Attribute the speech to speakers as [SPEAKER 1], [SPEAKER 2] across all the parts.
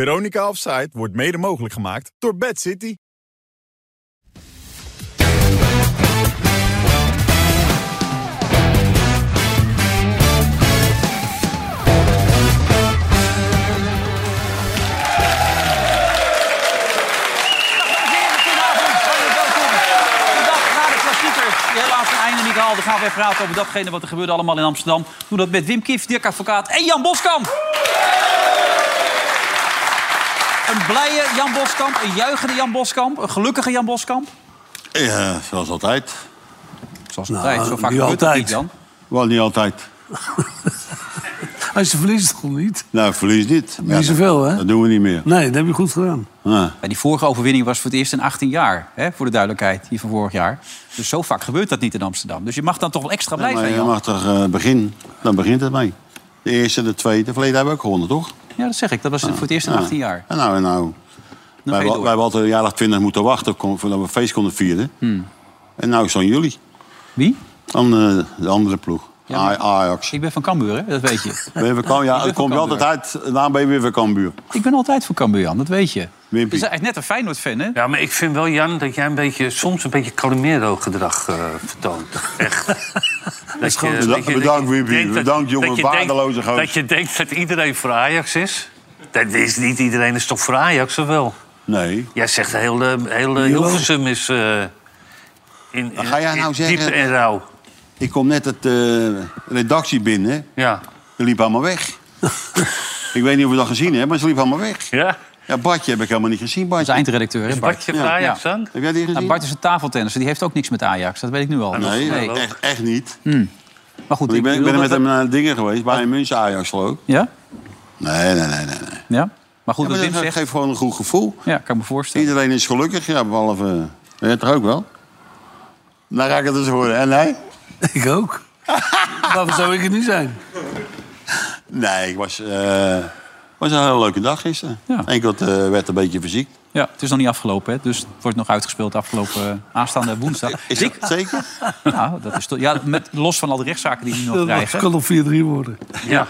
[SPEAKER 1] Veronica Offside wordt mede mogelijk gemaakt door Bad City.
[SPEAKER 2] Nou,
[SPEAKER 3] Helaas een einde niet gehaald. Dan gaan we even praten over datgene wat er gebeurde allemaal in Amsterdam. Doe dat met Wim Kief, Dirk Advocaat en Jan Boskamp. Een blije Jan Boskamp, een juichende Jan Boskamp, een gelukkige Jan Boskamp.
[SPEAKER 2] Ja, zoals altijd.
[SPEAKER 3] Zoals altijd, zo vaak
[SPEAKER 4] niet
[SPEAKER 3] gebeurt dat
[SPEAKER 4] altijd.
[SPEAKER 3] niet, Jan.
[SPEAKER 2] Wel niet altijd.
[SPEAKER 4] Als je verliest, toch niet?
[SPEAKER 2] Nou, ik verlies niet.
[SPEAKER 4] Niet zoveel, hè?
[SPEAKER 2] Dat doen we niet meer.
[SPEAKER 4] Nee, dat heb je goed gedaan.
[SPEAKER 2] Ja.
[SPEAKER 3] Ja, die vorige overwinning was voor het eerst in 18 jaar, hè, voor de duidelijkheid, die van vorig jaar. Dus zo vaak gebeurt dat niet in Amsterdam. Dus je mag dan toch wel extra blij
[SPEAKER 2] Maar
[SPEAKER 3] zijn,
[SPEAKER 2] je
[SPEAKER 3] Jan.
[SPEAKER 2] mag toch eh, beginnen. Dan begint het mee. De eerste, de tweede. Verleden hebben we ook gewonnen, toch?
[SPEAKER 3] Ja, dat zeg ik. Dat was
[SPEAKER 2] Ah.
[SPEAKER 3] voor het eerst in
[SPEAKER 2] Ja.
[SPEAKER 3] 18 jaar.
[SPEAKER 2] En nou, en nou.
[SPEAKER 3] Dan
[SPEAKER 2] Wij,
[SPEAKER 3] ga je
[SPEAKER 2] hebben al-
[SPEAKER 3] door.
[SPEAKER 2] wij hebben altijd een jaar of twintig moeten wachten... kon- voordat we een feest konden vieren.
[SPEAKER 3] Hmm.
[SPEAKER 2] En nou zijn jullie.
[SPEAKER 3] Wie?
[SPEAKER 2] Dan eh, de andere ploeg.
[SPEAKER 3] Ja, maar-
[SPEAKER 2] A- Ajax.
[SPEAKER 3] Ik ben van Cambuur, hè? dat weet je.
[SPEAKER 2] Ben je van Kam- ja,
[SPEAKER 3] ben
[SPEAKER 2] het
[SPEAKER 3] van
[SPEAKER 2] komt je altijd uit. Daarna ben je weer van Cambuur.
[SPEAKER 3] Ik ben altijd van Cambuur, Jan, dat weet je. Je is
[SPEAKER 2] Wimpy.
[SPEAKER 3] eigenlijk net een Feyenoord-fan, hè?
[SPEAKER 5] Ja, maar ik vind wel, Jan, dat jij een beetje, soms een beetje Calimero-gedrag eh, vertoont. Echt. Dat
[SPEAKER 2] Beda-
[SPEAKER 5] je- dat je-
[SPEAKER 2] bedankt,
[SPEAKER 5] dat je
[SPEAKER 2] Wimpy.
[SPEAKER 5] denkt dat-
[SPEAKER 2] Bedankt, jongen,
[SPEAKER 5] dat je denkt-
[SPEAKER 2] waardeloze gozer.
[SPEAKER 5] Dat je denkt dat iedereen voor Ajax is. Dat is niet iedereen is toch voor Ajax, of wel?
[SPEAKER 2] Nee.
[SPEAKER 5] Jij zegt heel, eh, heel eh, Hilversum is... eh, in,
[SPEAKER 2] Wat ga jij
[SPEAKER 5] in-
[SPEAKER 2] nou
[SPEAKER 5] Diep
[SPEAKER 2] zeggen?
[SPEAKER 5] en rauw.
[SPEAKER 2] Ik kom net het eh, redactie binnen. hè.
[SPEAKER 5] Ja.
[SPEAKER 2] Ze liep allemaal weg. ik weet niet of je dat gezien hebt, maar ze liep allemaal weg.
[SPEAKER 5] Ja?
[SPEAKER 2] Ja, Bartje heb ik helemaal niet gezien,
[SPEAKER 3] Dat is
[SPEAKER 2] Bartje.
[SPEAKER 3] eindredacteur, hè, Bart?
[SPEAKER 5] Wat je voor Ajax
[SPEAKER 3] Ja.
[SPEAKER 5] dan?
[SPEAKER 2] Heb jij die gezien?
[SPEAKER 3] Nou, Bart is een tafeltennisser, die heeft ook niks met Ajax. Dat weet ik nu al.
[SPEAKER 2] Ah, Nee,
[SPEAKER 5] Nee.
[SPEAKER 2] Echt, echt niet.
[SPEAKER 3] Maar goed,
[SPEAKER 2] Want ik ben, ik ben er
[SPEAKER 3] bedoel
[SPEAKER 2] met
[SPEAKER 3] dat
[SPEAKER 2] hem naar dingen geweest. Bij een München Ajax geloof ik.
[SPEAKER 3] we- Ja?
[SPEAKER 2] Nee, nee, nee. nee. nee.
[SPEAKER 3] Ja? Maar goed,
[SPEAKER 2] Ja, maar
[SPEAKER 3] wat Wim
[SPEAKER 2] dat
[SPEAKER 3] zegt...
[SPEAKER 2] geeft gewoon een goed gevoel.
[SPEAKER 3] Ja, kan ik me voorstellen.
[SPEAKER 2] Iedereen is gelukkig, ja, behalve... eh, Ja, toch ook wel? Nou ga ik het dus horen. En hij?
[SPEAKER 4] Ik ook. Waarom zou ik het niet zijn?
[SPEAKER 2] Nee, ik was... eh, was een hele leuke dag gisteren.
[SPEAKER 3] Ja.
[SPEAKER 2] Enkel het, eh, werd een beetje verziekt.
[SPEAKER 3] Ja, het is nog niet afgelopen, hè? dus het wordt nog uitgespeeld afgelopen eh, aanstaande woensdag.
[SPEAKER 2] Is dat zeker?
[SPEAKER 3] Nou, dat is toch, ja, met, los van al de rechtszaken die we nu nog
[SPEAKER 4] Dat
[SPEAKER 3] krijgen.
[SPEAKER 4] kan nog 4-3 worden.
[SPEAKER 5] Ja.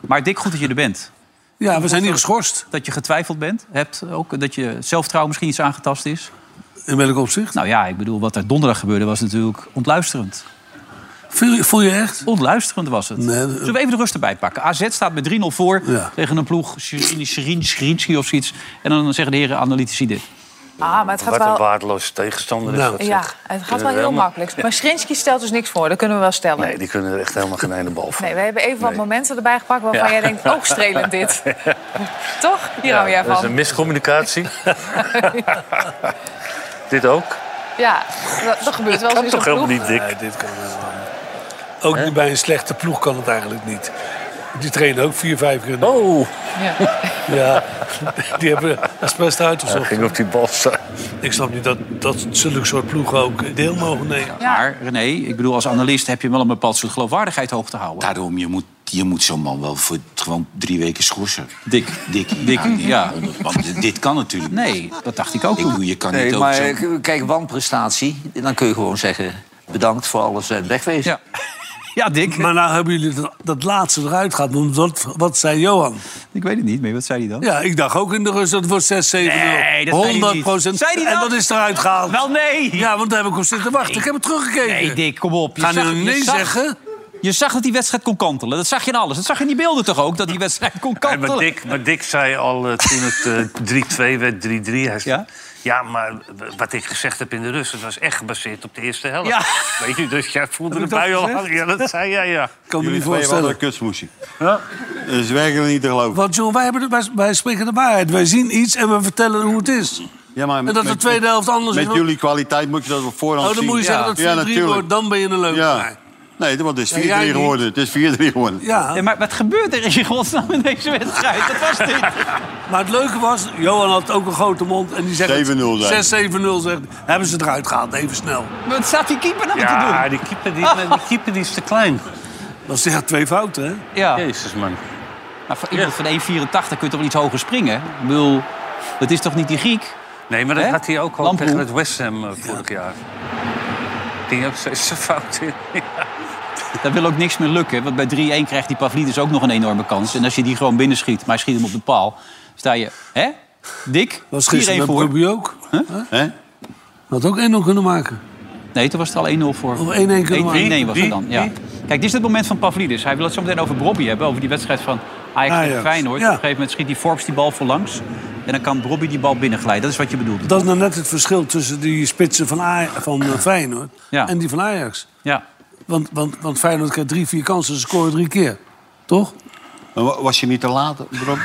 [SPEAKER 3] Maar Dick, goed dat je er bent.
[SPEAKER 4] Ja, we zijn niet geschorst.
[SPEAKER 3] Dat je getwijfeld bent, hebt ook. Dat je zelfvertrouwen misschien iets aangetast is.
[SPEAKER 4] In welk opzicht?
[SPEAKER 3] Nou ja, ik bedoel, wat er donderdag gebeurde was natuurlijk ontluisterend.
[SPEAKER 4] Voel je, voel je echt?
[SPEAKER 3] Ontluisterend was het.
[SPEAKER 4] Nee, dat-
[SPEAKER 3] Zullen we even de rust erbij pakken? AZ staat met 3-0 voor
[SPEAKER 4] Ja.
[SPEAKER 3] tegen een ploeg, Shirin- Shirin- Shirinski of zoiets. En dan zeggen de heren analytici dit.
[SPEAKER 6] Ah, maar het gaat
[SPEAKER 5] Wat een
[SPEAKER 6] wel...
[SPEAKER 5] waardeloze tegenstander is
[SPEAKER 4] Nou.
[SPEAKER 5] dat. zeg.
[SPEAKER 6] Ja, het gaat wel heel
[SPEAKER 5] Helemaal-
[SPEAKER 6] makkelijk. Maar Schrinsky stelt dus niks voor, dat kunnen we wel stellen.
[SPEAKER 5] Nee, die kunnen er echt helemaal geen ene bal van.
[SPEAKER 6] Nee, we hebben even wat
[SPEAKER 5] Nee.
[SPEAKER 6] momenten erbij gepakt waarvan
[SPEAKER 5] Ja.
[SPEAKER 6] jij denkt, oh, strelend dit. Toch? Hier hou jij
[SPEAKER 5] Dat is
[SPEAKER 6] van.
[SPEAKER 5] een miscommunicatie. Dit ook?
[SPEAKER 6] Ja, dat, dat gebeurt wel
[SPEAKER 5] Dat is
[SPEAKER 6] eens in zo'n
[SPEAKER 5] toch helemaal
[SPEAKER 6] ploeg.
[SPEAKER 5] niet dik?
[SPEAKER 4] Nee, dit kan wel. Ook niet bij een slechte ploeg kan het eigenlijk niet. Die trainen ook 4-5 keer.
[SPEAKER 5] Oh,
[SPEAKER 6] Ja.
[SPEAKER 4] Ja, die hebben het best
[SPEAKER 5] hij
[SPEAKER 4] uitgezocht.
[SPEAKER 5] ging op die bal staan.
[SPEAKER 4] Ik snap niet dat, dat zulke soort ploegen ook deel mogen nemen.
[SPEAKER 6] Ja.
[SPEAKER 3] Maar René, ik bedoel, als analist heb je wel een bepaald soort geloofwaardigheid hoog te houden.
[SPEAKER 7] Daarom, je moet, je moet zo'n man wel voor gewoon drie weken schorsen.
[SPEAKER 3] Dik.
[SPEAKER 7] Dikkie.
[SPEAKER 3] Dik, ja.
[SPEAKER 7] Want dit kan natuurlijk niet.
[SPEAKER 3] Nee, dat dacht ik ook
[SPEAKER 7] Ik bedoel,
[SPEAKER 3] toen.
[SPEAKER 7] je kan
[SPEAKER 8] Nee,
[SPEAKER 7] niet
[SPEAKER 8] maar
[SPEAKER 7] ook zo...
[SPEAKER 8] k- kijk, wanprestatie. Dan kun je gewoon zeggen... bedankt voor alles en wegwezen.
[SPEAKER 3] Ja, ja Dick.
[SPEAKER 4] Maar nou hebben jullie dat, dat laatste eruit gehad. Want wat, wat zei Johan?
[SPEAKER 3] Ik weet het niet meer, wat zei hij dan?
[SPEAKER 4] Ja, ik dacht ook in de rust, dat wordt 6, 7, 0.
[SPEAKER 3] Nee, dat zei hij
[SPEAKER 4] 100
[SPEAKER 3] niet.
[SPEAKER 4] procent.
[SPEAKER 3] Zei hij dat?
[SPEAKER 4] En dat is eruit gehaald.
[SPEAKER 3] Wel nee!
[SPEAKER 4] Ja, want daar heb ik op zitten wachten. Ik heb het teruggekeken.
[SPEAKER 3] Nee, Dick, kom op. Je
[SPEAKER 4] Ga nu
[SPEAKER 3] zag- je
[SPEAKER 4] nee
[SPEAKER 3] zag-
[SPEAKER 4] zeggen.
[SPEAKER 3] Je zag dat die wedstrijd kon kantelen. Dat zag je in alles. Dat zag je in die beelden toch ook, dat die wedstrijd kon
[SPEAKER 5] Nee,
[SPEAKER 3] kantelen.
[SPEAKER 5] maar, Dick, maar Dick zei al eh, toen het eh, 3-2 werd, 3-3. Hij zei,
[SPEAKER 3] Ja?
[SPEAKER 5] ja? maar w- wat ik gezegd heb in de rust... dat was echt gebaseerd op de eerste helft.
[SPEAKER 3] Ja.
[SPEAKER 5] Weet je, dus jij voelde de
[SPEAKER 4] ik dat
[SPEAKER 5] bui al
[SPEAKER 4] gezegd?
[SPEAKER 5] hangen. Ja, dat zei jij, ja.
[SPEAKER 4] Ik kan me
[SPEAKER 2] Jullie
[SPEAKER 4] niet
[SPEAKER 2] twee wel een
[SPEAKER 4] voorstellen.
[SPEAKER 2] kutsmoesje. Dat is werkelijk niet te geloven.
[SPEAKER 4] Want John, wij, hebben de- wij, wij spreken de waarheid. Wij zien iets en we vertellen hoe het is.
[SPEAKER 2] Ja, maar
[SPEAKER 4] En dat de
[SPEAKER 2] met-
[SPEAKER 4] tweede helft anders
[SPEAKER 2] Met
[SPEAKER 4] is.
[SPEAKER 2] jullie kwaliteit moet je dat op voorhand
[SPEAKER 4] Oh, dan
[SPEAKER 2] zien.
[SPEAKER 4] moet je zeggen dat het 4-3 wordt. Dan ben je een leuke
[SPEAKER 2] Ja.
[SPEAKER 4] guy.
[SPEAKER 2] Nee, want het is 4-3
[SPEAKER 4] Ja, jij niet.
[SPEAKER 2] geworden. Het is 4-3 geworden.
[SPEAKER 4] Ja,
[SPEAKER 3] Ja, maar wat gebeurt er in godsnaam in deze wedstrijd? Dat was dit.
[SPEAKER 4] maar het leuke was, Johan had ook een grote mond. En die zegt
[SPEAKER 2] 7-0 zei
[SPEAKER 4] 6, 7-0 zegt. Hebben ze eruit gehaald, even snel.
[SPEAKER 3] Wat staat die keeper nou te
[SPEAKER 5] Ja,
[SPEAKER 3] doen?
[SPEAKER 5] die keeper, die, die keeper die is te klein.
[SPEAKER 4] Dat is echt twee fouten, hè?
[SPEAKER 3] Ja,
[SPEAKER 5] Jezus, man.
[SPEAKER 3] maar voor iemand van 1,84 kun je toch wel iets hoger springen? Ik bedoel, dat is toch niet die Griek?
[SPEAKER 5] Nee, maar dat
[SPEAKER 3] Hè?
[SPEAKER 5] had hij ook al
[SPEAKER 3] Lamproe.
[SPEAKER 5] tegen het West Ham eh, vorig jaar. Die ook steeds zijn fout in.
[SPEAKER 3] Daar wil ook niks meer lukken. Want bij 3-1 krijgt die Pavlidis ook nog een enorme kans. En als je die gewoon binnenschiet, maar hij schiet hem op de paal... Sta je, hè? Dik, 4-1
[SPEAKER 4] Was gisteren met
[SPEAKER 3] voor.
[SPEAKER 4] Ruby ook.
[SPEAKER 2] Hè?
[SPEAKER 4] Had ook 1-0 kunnen maken.
[SPEAKER 3] Nee, toen was het al 1-0 voor.
[SPEAKER 4] Of 1-1 kunnen we maken.
[SPEAKER 3] 1-1 was het dan, ja. Kijk, dit is het moment van Pavlidis. Hij wil het zo meteen over Bobby hebben, over die wedstrijd van Ajax tegen
[SPEAKER 4] Ajax,
[SPEAKER 3] Feyenoord.
[SPEAKER 4] Ah, ja.
[SPEAKER 3] Op een gegeven moment schiet die Forbes die bal voorlangs. En dan kan Bobby die bal binnenglijden. Dat is wat je bedoelt.
[SPEAKER 4] Dat is nou net het verschil tussen die spitsen van, Aj- van eh, Feyenoord
[SPEAKER 3] Ja.
[SPEAKER 4] en die van Ajax.
[SPEAKER 3] Ja.
[SPEAKER 4] Want, want, want Feyenoord krijgt drie, vier kansen, ze scoren drie keer. Toch?
[SPEAKER 2] Maar wa- Was je niet te laat, Rob?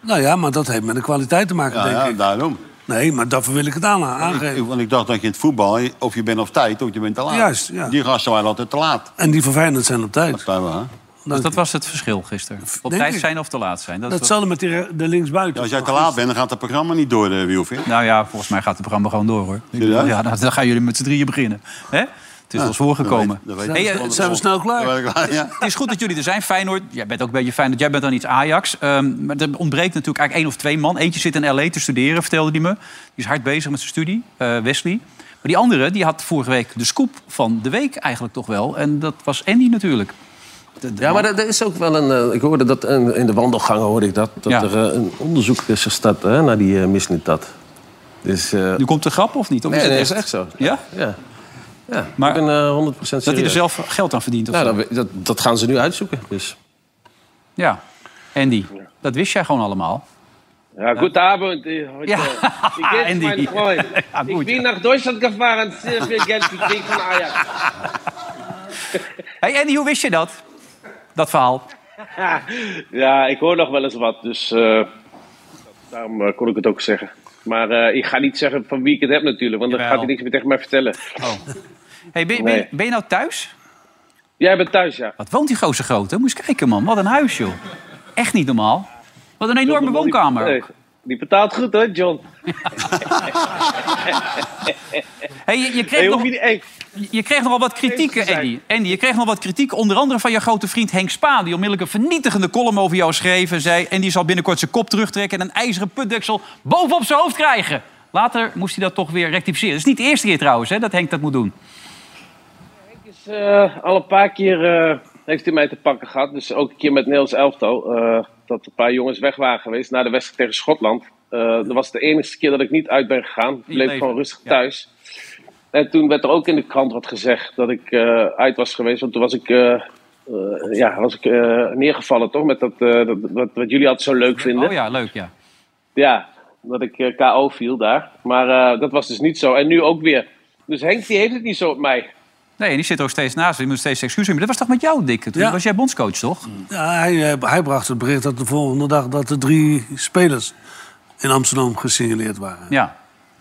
[SPEAKER 4] Nou ja, maar dat heeft met de kwaliteit te maken,
[SPEAKER 2] Ja,
[SPEAKER 4] denk
[SPEAKER 2] ja,
[SPEAKER 4] ik.
[SPEAKER 2] daarom.
[SPEAKER 4] Nee, maar daarvoor wil ik het aan,
[SPEAKER 2] Ik,
[SPEAKER 4] aangeven.
[SPEAKER 2] want ik dacht dat je in het voetbal, of je bent op tijd of je bent te laat.
[SPEAKER 4] Juist, ja.
[SPEAKER 2] Die gasten waren altijd te laat.
[SPEAKER 4] En die van Feyenoord zijn op tijd.
[SPEAKER 2] Dat zijn we, hè?
[SPEAKER 3] Dus dat was het verschil gisteren. Op
[SPEAKER 4] Nou, Denk
[SPEAKER 3] tijd
[SPEAKER 4] ik.
[SPEAKER 3] zijn of te laat zijn. Dat is
[SPEAKER 4] Datzelfde met die, re- de linksbuiten.
[SPEAKER 2] Ja, Als jij te laat bent, dan gaat het programma niet door, eh, Wielvin.
[SPEAKER 3] Nou ja, volgens mij gaat het programma gewoon door, hoor. Ik bedoel,
[SPEAKER 2] Ja?
[SPEAKER 3] Ja, nou, dan gaan jullie met z'n drieën beginnen. Hè? Het is als voorgekomen.
[SPEAKER 2] dat weet- dat
[SPEAKER 3] Hey,
[SPEAKER 2] weet-
[SPEAKER 3] eh,
[SPEAKER 2] dat
[SPEAKER 4] Zijn we snel klaar?
[SPEAKER 2] Ja, maar- ja.
[SPEAKER 3] Het is goed dat jullie er zijn. Feyenoord, jij bent ook een beetje Feyenoord. Jij bent dan iets Ajax. Ehm, maar er ontbreekt natuurlijk eigenlijk één of twee man. Eentje zit in L.A. te studeren, vertelde hij me. Die is hard bezig met zijn studie, eh, Wesley. Maar die andere, die had vorige week de scoop van de week eigenlijk toch wel. En dat was Andy natuurlijk. De- de-
[SPEAKER 9] Ja, maar er er is ook wel een. eh, Ik hoorde dat in, in de wandelgangen hoorde ik dat. Dat
[SPEAKER 3] Ja.
[SPEAKER 9] er eh, een onderzoek is gestart hè, naar die uh, misnitat. Dus. eh,
[SPEAKER 3] Nu komt de grap of niet? Of
[SPEAKER 9] nee,
[SPEAKER 3] is
[SPEAKER 9] nee,
[SPEAKER 3] het
[SPEAKER 9] dat
[SPEAKER 3] echt?
[SPEAKER 9] is echt zo.
[SPEAKER 3] Ja?
[SPEAKER 9] Ja. ja.
[SPEAKER 3] Maar-
[SPEAKER 9] Maar, ik ben eh, 100% serieus. Nou,
[SPEAKER 3] Dat hij er zelf geld aan verdient? Of
[SPEAKER 9] Ja,
[SPEAKER 3] zo?
[SPEAKER 9] dat, dat, dat gaan ze nu uitzoeken. Dus.
[SPEAKER 3] ja, Andy, dat wist jij gewoon allemaal.
[SPEAKER 10] Ja, guten Abend. äh, Heute.
[SPEAKER 3] Ja,
[SPEAKER 10] Wie geht's,
[SPEAKER 3] Andy.
[SPEAKER 10] mein Freund?
[SPEAKER 3] Ja,
[SPEAKER 10] ich
[SPEAKER 3] gut,
[SPEAKER 10] bin
[SPEAKER 3] ja.
[SPEAKER 10] nach Deutschland gefahren, sehr viel Geld gekriegt von Ajax.
[SPEAKER 3] hey Andy, hoe wist je dat? Dat verhaal.
[SPEAKER 10] Ja, ik hoor nog wel eens wat, dus eh, daarom eh, kon ik het ook zeggen. Maar eh, ik ga niet zeggen van wie ik het heb natuurlijk, want dan
[SPEAKER 3] Jawel.
[SPEAKER 10] gaat hij niks meer tegen mij vertellen.
[SPEAKER 3] Hey, ben, ben-
[SPEAKER 10] Nee.
[SPEAKER 3] ben je nou thuis?
[SPEAKER 10] Jij bent thuis, ja.
[SPEAKER 3] Wat woont die gozer groot, hè? Moest kijken, man. Wat een huis, joh. Echt niet normaal. Wat een enorme woonkamer.
[SPEAKER 10] Nee, Die betaalt goed hoor, John.
[SPEAKER 3] Hey, je, je,
[SPEAKER 10] Hey,
[SPEAKER 3] kreeg nog,
[SPEAKER 10] hoef je niet- hey,
[SPEAKER 3] je kreeg nogal wat kritiek,
[SPEAKER 10] Eens te zijn.
[SPEAKER 3] Andy. Andy. Je kreeg nog wat kritiek, onder andere van je grote vriend Henk Spaan... die onmiddellijk een vernietigende column over jou schreef en zei... en die zal binnenkort zijn kop terugtrekken en een ijzeren putdeksel bovenop zijn hoofd krijgen. Later moest hij dat toch weer rectificeren. Het is niet de eerste keer trouwens hè, dat Henk dat moet doen.
[SPEAKER 10] is, eh, al een paar keer eh, heeft hij mij te pakken gehad. Dus ook een keer met Nederlands elftal. eh, dat een paar jongens weg waren geweest na de wedstrijd tegen Schotland. Eh, dat was de enige keer dat ik niet uit ben gegaan. Ik bleef
[SPEAKER 3] leven.
[SPEAKER 10] gewoon rustig
[SPEAKER 3] Ja.
[SPEAKER 10] thuis. En toen werd er ook in de krant wat gezegd dat ik eh, uit was geweest. Want toen was ik, eh, eh, ja, was ik eh, neergevallen, toch? Met dat, eh, dat, wat, wat jullie altijd zo leuk vinden.
[SPEAKER 3] Oh ja, leuk, ja.
[SPEAKER 10] Ja, dat ik eh, KO viel daar. Maar eh, dat was dus niet zo. En nu ook weer. Dus Henk die heeft het niet zo op mij.
[SPEAKER 3] Nee, en die zit er ook steeds naast. Die moet steeds excuses hebben. Dat was toch met jou, Dick? Toen
[SPEAKER 4] Ja.
[SPEAKER 3] was jij bondscoach, toch?
[SPEAKER 4] Ja, hij, eh, hij bracht het bericht dat de volgende dag dat er drie spelers in Amsterdam gesignaleerd waren.
[SPEAKER 3] Ja.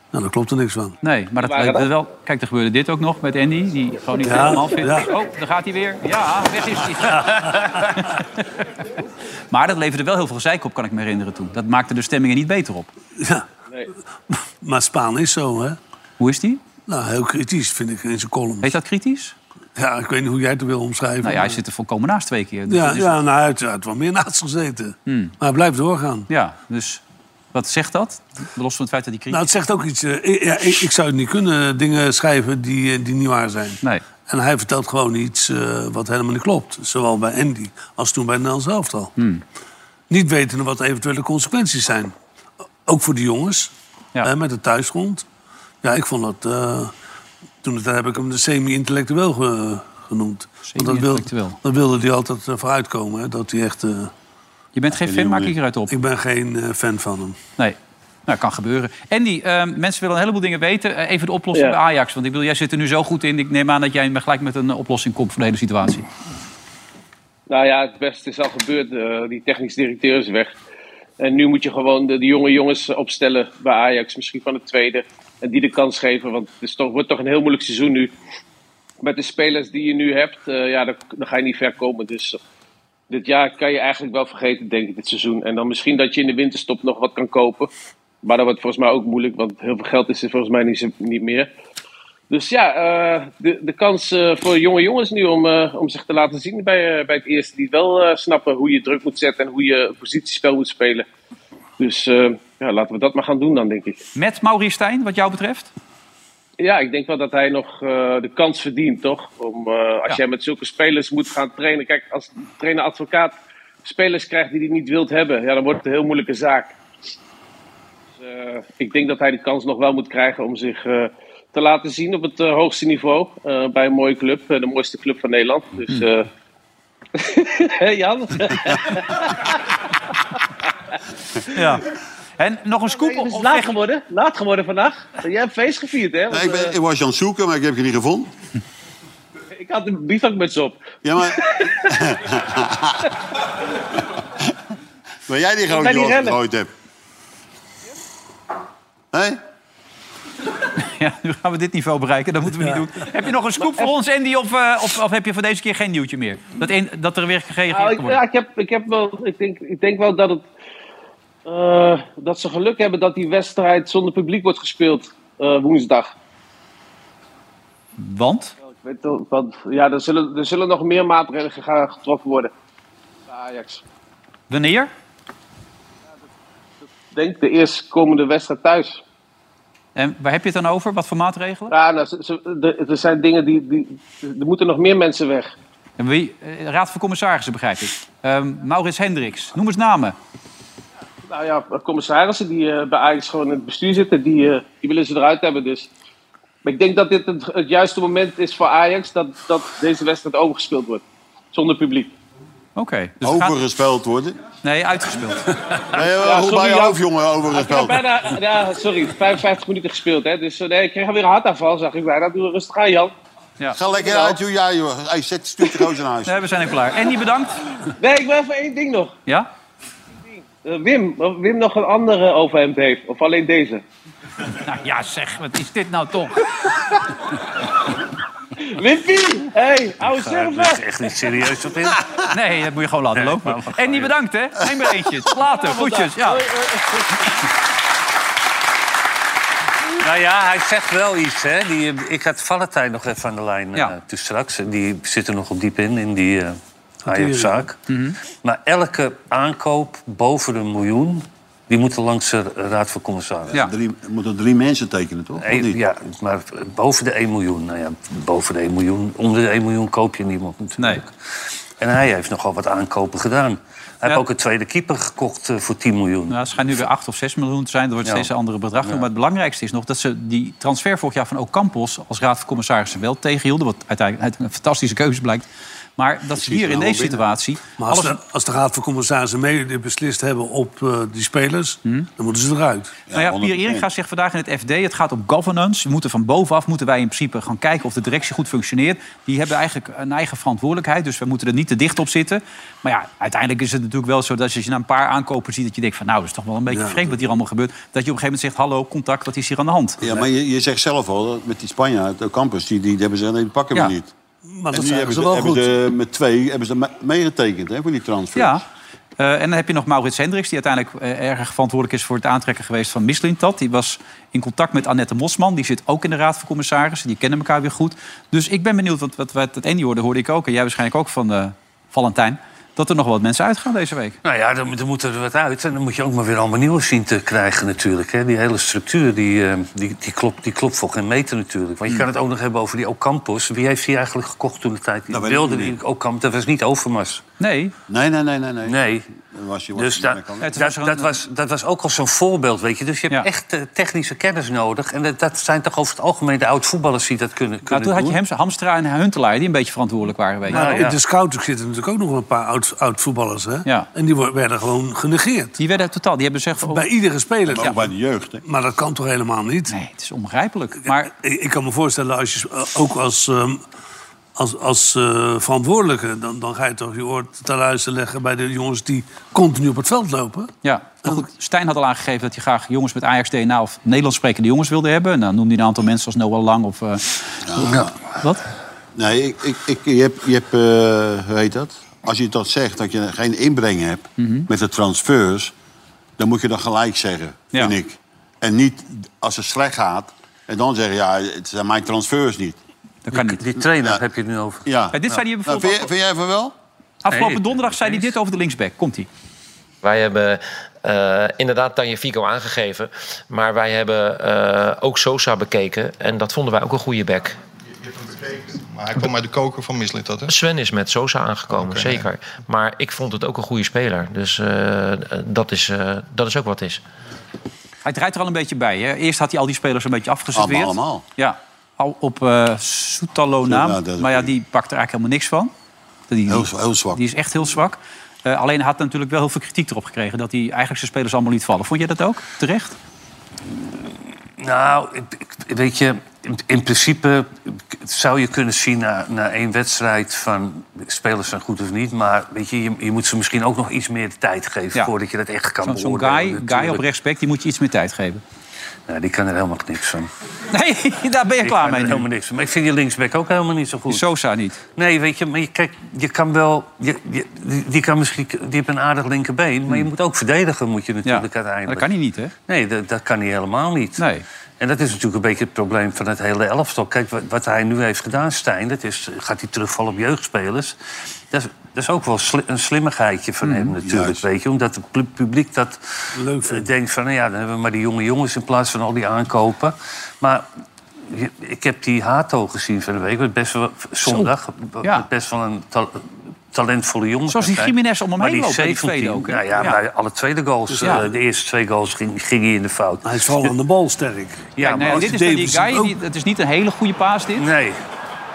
[SPEAKER 4] Nou, daar klopt er niks van.
[SPEAKER 3] Nee, maar dat,
[SPEAKER 10] waren
[SPEAKER 3] dat
[SPEAKER 10] dat.
[SPEAKER 3] wel. Kijk, er gebeurde dit ook nog met Andy, die gewoon niet
[SPEAKER 4] Ja,
[SPEAKER 3] helemaal fit is.
[SPEAKER 4] ja.
[SPEAKER 3] Oh, daar gaat hij weer. Ja, weg is hij. maar dat leverde wel heel veel gezeik op, kan ik me herinneren toen. Dat maakte de stemmingen niet beter op.
[SPEAKER 4] Ja.
[SPEAKER 10] Nee.
[SPEAKER 4] Maar Spaan is zo, hè?
[SPEAKER 3] Hoe is die?
[SPEAKER 4] Nou, heel kritisch vind ik in zijn column.
[SPEAKER 3] Heet dat kritisch?
[SPEAKER 4] Ja, ik weet niet hoe jij het wil omschrijven.
[SPEAKER 3] Nou ja, hij
[SPEAKER 4] maar-
[SPEAKER 3] zit er volkomen naast twee keer. Dus
[SPEAKER 4] ja,
[SPEAKER 3] dat is-
[SPEAKER 4] ja, nou, hij heeft- hij heeft wel meer naast gezeten. Maar hij blijft doorgaan.
[SPEAKER 3] ja, dus wat zegt dat? Los van het feit dat hij kritisch
[SPEAKER 4] Nou, het zegt ook iets. eh, ik, ja, ik, ik zou het niet kunnen eh, dingen schrijven die, eh, die niet waar zijn.
[SPEAKER 3] Nee.
[SPEAKER 4] En hij vertelt gewoon iets eh, wat helemaal niet klopt. Zowel bij Andy als toen bij Nel zelf al.
[SPEAKER 2] Hmm.
[SPEAKER 4] Niet wetende wat de eventuele consequenties zijn. Ook voor de jongens,
[SPEAKER 3] Ja.
[SPEAKER 4] hè, met het thuisgrond. Ja, ik vond dat... eh, toen het, heb ik hem de semi-intellectueel ge- genoemd. Want dat wilde,
[SPEAKER 3] Semi-intellectueel.
[SPEAKER 4] dat wilde hij altijd eh, vooruitkomen. Hè, dat hij echt... eh,
[SPEAKER 3] Je bent geen fan, maak ik eruit op.
[SPEAKER 4] ik ben geen eh, fan van hem.
[SPEAKER 3] Nee. Nou, kan gebeuren. Andy, eh, mensen willen een heleboel dingen weten. Eh, even de oplossing
[SPEAKER 10] Ja.
[SPEAKER 3] bij Ajax. Want ik bedoel, jij zit er nu zo goed in. Ik neem aan dat jij gelijk met een eh, oplossing komt voor de hele situatie.
[SPEAKER 10] Nou ja, het beste is al gebeurd. eh, die technisch directeur is weg. En nu moet je gewoon de, de jonge jongens opstellen bij Ajax. Misschien van het tweede. En die de kans geven. Want het is toch, wordt toch een heel moeilijk seizoen nu. Met de spelers die je nu hebt, eh, ja, dan, dan ga je niet ver komen. Dus eh, dit jaar kan je eigenlijk wel vergeten, denk ik, dit seizoen. En dan misschien dat je in de winterstop nog wat kan kopen. Maar dat wordt volgens mij ook moeilijk, want heel veel geld is er volgens mij niet, zo- niet meer. Dus ja, eh, de, de kans eh, voor jonge jongens nu om, eh, om zich te laten zien bij, eh, bij het eerste. Die wel eh, snappen hoe je druk moet zetten en hoe je een positiespel moet spelen. Dus eh, ja, laten we dat maar gaan doen dan, denk ik.
[SPEAKER 3] Met Maurice Stijn, wat jou betreft?
[SPEAKER 10] Ja, ik denk wel dat hij nog eh, de kans verdient, toch? Om, eh, als
[SPEAKER 3] Ja.
[SPEAKER 10] jij met zulke spelers moet gaan trainen. Kijk, als trainer-advocaat spelers krijgt die hij niet wilt hebben, ja, dan wordt het een heel moeilijke zaak. Dus, eh, ik denk dat hij de kans nog wel moet krijgen om zich eh, te laten zien op het eh, hoogste niveau. eh, bij een mooie club, eh, de mooiste club van Nederland. Dus.
[SPEAKER 2] Hmm.
[SPEAKER 10] eh, Hé Jan?
[SPEAKER 3] Ja. En nog een scoop op,
[SPEAKER 10] Het is
[SPEAKER 3] op
[SPEAKER 10] dus laat
[SPEAKER 3] Vecht-
[SPEAKER 10] geworden. Laat geworden vandaag. Jij hebt feest gevierd, hè? Want,
[SPEAKER 2] Nee, ik, ben, ik was je aan het zoeken, maar ik heb je niet gevonden.
[SPEAKER 10] eh, ik had een bivakmuts op.
[SPEAKER 2] Ja, maar... ben jij die grote
[SPEAKER 10] zijn die
[SPEAKER 2] jongen
[SPEAKER 10] rellen.
[SPEAKER 2] gegooid hebt? Hé?
[SPEAKER 3] Ja, nu gaan we dit niveau bereiken, dat moeten we niet doen. Heb je nog een scoop voor ons, Andy, of, eh, of, of heb je voor deze keer geen nieuwtje meer? Dat, een- dat er weer gereageerd
[SPEAKER 10] Nou,
[SPEAKER 3] kan
[SPEAKER 10] ik,
[SPEAKER 3] worden.
[SPEAKER 10] ja, ik, heb, ik, heb wel, ik, denk, ik denk wel dat, het, eh, dat ze geluk hebben dat die wedstrijd zonder publiek wordt gespeeld eh, woensdag.
[SPEAKER 3] Want?
[SPEAKER 10] Ik weet wel, want, ja, er zullen, er zullen nog meer maatregelen gega- getroffen worden. Bij Ajax.
[SPEAKER 3] Wanneer?
[SPEAKER 10] Ik denk de eerstkomende wedstrijd thuis.
[SPEAKER 3] En waar heb je het dan over? Wat voor maatregelen?
[SPEAKER 10] Ja, nou, ze- ze- de- er zijn dingen die, die. Er moeten nog meer mensen weg.
[SPEAKER 3] En wie, eh, Raad van Commissarissen, begrijp ik. Ehm Maurits Hendricks, noem eens namen.
[SPEAKER 10] Nou ja, commissarissen die eh, bij Ajax gewoon in het bestuur zitten, die, eh, die willen ze eruit hebben. Dus. Maar ik denk dat dit het, het juiste moment is voor Ajax dat, dat deze wedstrijd overgespeeld wordt. Zonder publiek.
[SPEAKER 3] Oké. Dus het gaat-
[SPEAKER 2] Overgespeeld worden.
[SPEAKER 3] Nee, uitgespeeld.
[SPEAKER 2] Nee, hoe
[SPEAKER 10] sorry,
[SPEAKER 2] bij je
[SPEAKER 10] Jan.
[SPEAKER 2] hoofd, jongen, overgespeeld.
[SPEAKER 10] Bijna, ja, sorry, 55 minuten gespeeld. Hè? Dus eh, nee, ik kreeg weer een hartaanval, zag ik bijna. Doe rustig aan, Jan.
[SPEAKER 2] Ga lekker uit, joh. Ja, joh. Hey, zet, stuur de gozer naar huis.
[SPEAKER 3] Nee, Eh, we zijn er klaar. Andy, bedankt.
[SPEAKER 10] Nee, ik wil even één ding nog.
[SPEAKER 3] Ja?
[SPEAKER 10] Eh, Wim, of Wim nog een andere overhemd heeft. Of alleen deze.
[SPEAKER 3] Nou ja, zeg, wat is dit nou toch?
[SPEAKER 10] Wimpy! Hey, oude
[SPEAKER 5] Dat is
[SPEAKER 10] server!
[SPEAKER 5] echt niet serieus op in.
[SPEAKER 3] Nee, dat moet je gewoon laten
[SPEAKER 5] Nee,
[SPEAKER 3] lopen.
[SPEAKER 5] maar we gaan
[SPEAKER 3] En die bedankt, hè? Neem maar eentje. Later, groetjes. Ja.
[SPEAKER 5] Nou ja, hij zegt wel iets, hè. Die, eh, ik had Valentijn nog even aan de lijn eh,
[SPEAKER 3] Ja.
[SPEAKER 5] toen straks. En Die zit er nogal diep in, in die eh Ajax-zaak.
[SPEAKER 3] Mhm.
[SPEAKER 5] Maar elke aankoop boven een miljoen... die moet er langs de Raad van Commissarissen.
[SPEAKER 3] Ja.
[SPEAKER 2] Drie, moeten drie mensen tekenen, toch? Of
[SPEAKER 5] Eén-
[SPEAKER 2] niet?
[SPEAKER 5] ja, maar boven de 1 miljoen. Nou ja, boven de 1 miljoen. Onder de 1 miljoen koop je niemand natuurlijk. En hij heeft nogal wat aankopen gedaan. Hij heeft ook een tweede keeper gekocht eh, voor 10 miljoen.
[SPEAKER 3] Nou, het schijnt nu weer 8 of 6 miljoen te zijn. Er wordt steeds een andere bedrag. Maar het belangrijkste is nog dat ze die transfer vorig jaar van Ocampos... als raad van commissarissen wel tegenhielden. Wat uiteindelijk uit een fantastische keuze blijkt. Maar dat ze hier in deze situatie...
[SPEAKER 4] nou, Maar als,
[SPEAKER 3] alles-
[SPEAKER 4] de, als de Raad van Commissarissen mede beslist hebben op eh, die spelers...
[SPEAKER 3] Hm?
[SPEAKER 4] dan moeten ze eruit.
[SPEAKER 3] Nou ja, Pierre
[SPEAKER 2] 100%.
[SPEAKER 3] Eringa zegt vandaag in het FD... het gaat om governance. We moeten van bovenaf moeten wij in principe gaan kijken of de directie goed functioneert. Die hebben eigenlijk een eigen verantwoordelijkheid. Dus we moeten er niet te dicht op zitten. Maar ja, uiteindelijk is het natuurlijk wel zo... dat als je na een paar aankopen ziet dat je denkt van... nou, dat is toch wel een beetje vreemd wat hier allemaal gebeurt. Dat je op een gegeven moment zegt... hallo, contact, wat is hier aan de hand?
[SPEAKER 2] Ja, maar je, je zegt zelf al, dat met die Spanjaard, de campus, die, die hebben ze, nee, die pakken
[SPEAKER 3] Ja.
[SPEAKER 2] we niet.
[SPEAKER 4] Maar
[SPEAKER 2] en
[SPEAKER 4] dat
[SPEAKER 2] die
[SPEAKER 4] zijn
[SPEAKER 2] hebben
[SPEAKER 4] ze
[SPEAKER 2] ze,
[SPEAKER 4] wel
[SPEAKER 2] hebben
[SPEAKER 4] goed.
[SPEAKER 2] ze met twee hebben ze me- meegetekend hè, voor die transfer.
[SPEAKER 3] Ja. Eh, en dan heb je nog Maurits Hendricks, die uiteindelijk eh, erg verantwoordelijk is voor het aantrekken geweest van Mislintat. Die was in contact met Annette Mosman, die zit ook in de Raad van Commissarissen. Die kennen elkaar weer goed. Dus ik ben benieuwd, want wat, wat, het Andy hoorde, hoorde ik ook, en jij waarschijnlijk ook van eh, Valentijn, dat er nog wat mensen uitgaan deze week.
[SPEAKER 5] Nou ja, dan, dan moeten er wat uit. En dan moet je ook maar weer allemaal nieuwe zien te krijgen natuurlijk. Hè. Die hele structuur, die, eh, die, die, klopt, die klopt voor geen meter natuurlijk. Want je kan het ook nog hebben over die Ocampos. Wie heeft die eigenlijk gekocht toen de tijd? Die
[SPEAKER 2] Hmm. Dat weet ik
[SPEAKER 5] wilde
[SPEAKER 2] niet.
[SPEAKER 5] die Ocampos, dat was niet Overmars.
[SPEAKER 3] Nee,
[SPEAKER 2] Nee, nee, nee, nee. nee.
[SPEAKER 5] Nee,
[SPEAKER 2] Dat Was je, was
[SPEAKER 5] dus
[SPEAKER 2] je
[SPEAKER 5] da-
[SPEAKER 2] niet meer kan.
[SPEAKER 3] Het was
[SPEAKER 5] dat,
[SPEAKER 3] zo'n-
[SPEAKER 5] dat, was, dat was ook al zo'n voorbeeld, weet je. Dus je hebt
[SPEAKER 3] Ja.
[SPEAKER 5] echt eh, technische kennis nodig. En dat, dat zijn toch over het algemeen de oud-voetballers die dat kunnen,
[SPEAKER 3] nou,
[SPEAKER 5] kunnen
[SPEAKER 3] toen had je
[SPEAKER 5] doen.
[SPEAKER 3] Hems- Hamstra en Huntelaar die een beetje verantwoordelijk waren. Weet je.
[SPEAKER 4] Maar
[SPEAKER 5] Nou, ja.
[SPEAKER 4] in de scouting zitten natuurlijk ook nog wel een paar oud- oud-voetballers. hè?
[SPEAKER 3] Ja. Oh.
[SPEAKER 4] En die wo- werden gewoon genegeerd.
[SPEAKER 3] Die werden totaal, die hebben gezegd... van,
[SPEAKER 4] Bij iedere speler.
[SPEAKER 2] Ook bij de jeugd, hè.
[SPEAKER 4] Maar dat kan toch helemaal niet?
[SPEAKER 3] nee, het is onbegrijpelijk. Maar
[SPEAKER 4] Ik, ik kan me voorstellen, als je, eh, ook als, ehm, als, als eh, verantwoordelijke... Dan, dan ga je toch je oor te luisteren leggen bij de jongens die continu op het veld lopen.
[SPEAKER 3] Ja, maar goed, Stijn had al aangegeven dat hij graag jongens met Ajax DNA of Nederlands sprekende jongens wilde hebben. En dan noemde hij een aantal mensen als Noah Lang of eh, wat?
[SPEAKER 2] Nee, ik, ik, ik, je hebt, je hebt eh, hoe heet dat? Als je dat zegt, dat je geen inbreng hebt
[SPEAKER 3] Mhm.
[SPEAKER 2] met de transfers... dan moet je dat gelijk zeggen,
[SPEAKER 3] Ja.
[SPEAKER 2] vind ik. En niet als het slecht gaat en dan zeggen... ja, het zijn mijn transfers niet.
[SPEAKER 3] Dat kan niet.
[SPEAKER 5] Die trainer
[SPEAKER 2] Ja.
[SPEAKER 5] heb je het nu over.
[SPEAKER 2] Ja.
[SPEAKER 3] Ja, dit zei hij
[SPEAKER 2] Nou,
[SPEAKER 3] bijvoorbeeld
[SPEAKER 2] vind, jij, vind jij van wel?
[SPEAKER 3] afgelopen
[SPEAKER 5] Nee,
[SPEAKER 3] donderdag zei hij dit over de linksback. Komt hij?
[SPEAKER 11] Wij hebben eh, inderdaad Tanje Fico aangegeven. Maar wij hebben eh, ook Sosa bekeken. En dat vonden wij ook een goede back.
[SPEAKER 1] Maar hij kwam uit de koker van Mislit, dat hè?
[SPEAKER 11] Sven is met Sosa aangekomen, zeker. Maar ik vond het ook een goede speler. Dus eh, dat, is, eh, dat is ook wat is.
[SPEAKER 3] Hij draait er al een beetje bij. Hè? Eerst had hij al die spelers een beetje afgeserveerd.
[SPEAKER 2] Allemaal, allemaal.
[SPEAKER 3] Ja, al op eh Soetalo naam.
[SPEAKER 2] Ja, dat is
[SPEAKER 3] maar ja, die pakt er eigenlijk helemaal niks van. Die,
[SPEAKER 2] Heel, heel zwak.
[SPEAKER 3] die is echt heel zwak. Eh, alleen had hij natuurlijk wel heel veel kritiek erop gekregen... dat hij eigenlijk zijn spelers allemaal liet vallen. Vond jij dat ook? Terecht?
[SPEAKER 5] Nou, ik- ik- weet je, in- in principe zou je kunnen zien na, na één wedstrijd van spelers zijn goed of niet. Maar weet je, je, je moet ze misschien ook nog iets meer de tijd geven
[SPEAKER 3] Ja.
[SPEAKER 5] voordat je dat echt kan
[SPEAKER 3] Zo- Zo'n
[SPEAKER 5] beoordelen.
[SPEAKER 3] guy, guy op
[SPEAKER 5] natuurlijk.
[SPEAKER 3] rechtsback, die moet je iets meer tijd geven.
[SPEAKER 5] Nou, die kan er helemaal niks van.
[SPEAKER 3] Nee, daar ben je
[SPEAKER 5] Ik
[SPEAKER 3] klaar
[SPEAKER 5] kan er
[SPEAKER 3] mee nu.
[SPEAKER 5] helemaal niks van. Maar ik vind die linksback ook helemaal niet zo goed.
[SPEAKER 3] Sosa niet.
[SPEAKER 5] Nee, weet je, maar je, kijk, je kan wel... Je, je- die, die kan misschien, die heeft een aardig linkerbeen, maar je moet ook verdedigen moet je natuurlijk
[SPEAKER 3] Hmm. Maar dat
[SPEAKER 5] uiteindelijk.
[SPEAKER 3] kan hij niet, hè?
[SPEAKER 5] Nee, dat, dat kan hij helemaal niet.
[SPEAKER 3] Nee.
[SPEAKER 5] En dat is natuurlijk een beetje het probleem van het hele elftal. Kijk, wat, wat hij nu heeft gedaan, Stijn, dat is, gaat hij terugvallen op jeugdspelers. Dat is, dat is ook wel sli- een slimmigheidje van hem
[SPEAKER 3] Mhm,
[SPEAKER 5] natuurlijk,
[SPEAKER 2] Juist.
[SPEAKER 5] weet je. Omdat het pub- publiek dat
[SPEAKER 4] Leuk
[SPEAKER 5] eh, denkt van, nou ja, dan hebben we maar die jonge jongens in plaats van al die aankopen. Maar je- ik heb die Hato gezien van de week, wat best wel, zondag, wat
[SPEAKER 3] Ja.
[SPEAKER 5] best wel een ta- talentvolle jongen.
[SPEAKER 3] Zoals die
[SPEAKER 5] kan zijn.
[SPEAKER 3] Jiménez om hem
[SPEAKER 5] Maar
[SPEAKER 3] heen
[SPEAKER 5] die
[SPEAKER 3] loopt bij die
[SPEAKER 5] 17,
[SPEAKER 3] tweede ook. hè?
[SPEAKER 5] Nou ja, bij alle tweede goals,
[SPEAKER 3] ja.
[SPEAKER 5] eh, de eerste twee goals ging, ging hij in de fout.
[SPEAKER 4] Hij is vooral aan de bal sterk.
[SPEAKER 5] Ja,
[SPEAKER 3] Kijk, nou ja,
[SPEAKER 5] maar
[SPEAKER 3] dit is
[SPEAKER 4] als
[SPEAKER 3] dan die
[SPEAKER 4] Davidson
[SPEAKER 3] guy, die, het is niet een hele goede paas dit.
[SPEAKER 5] nee.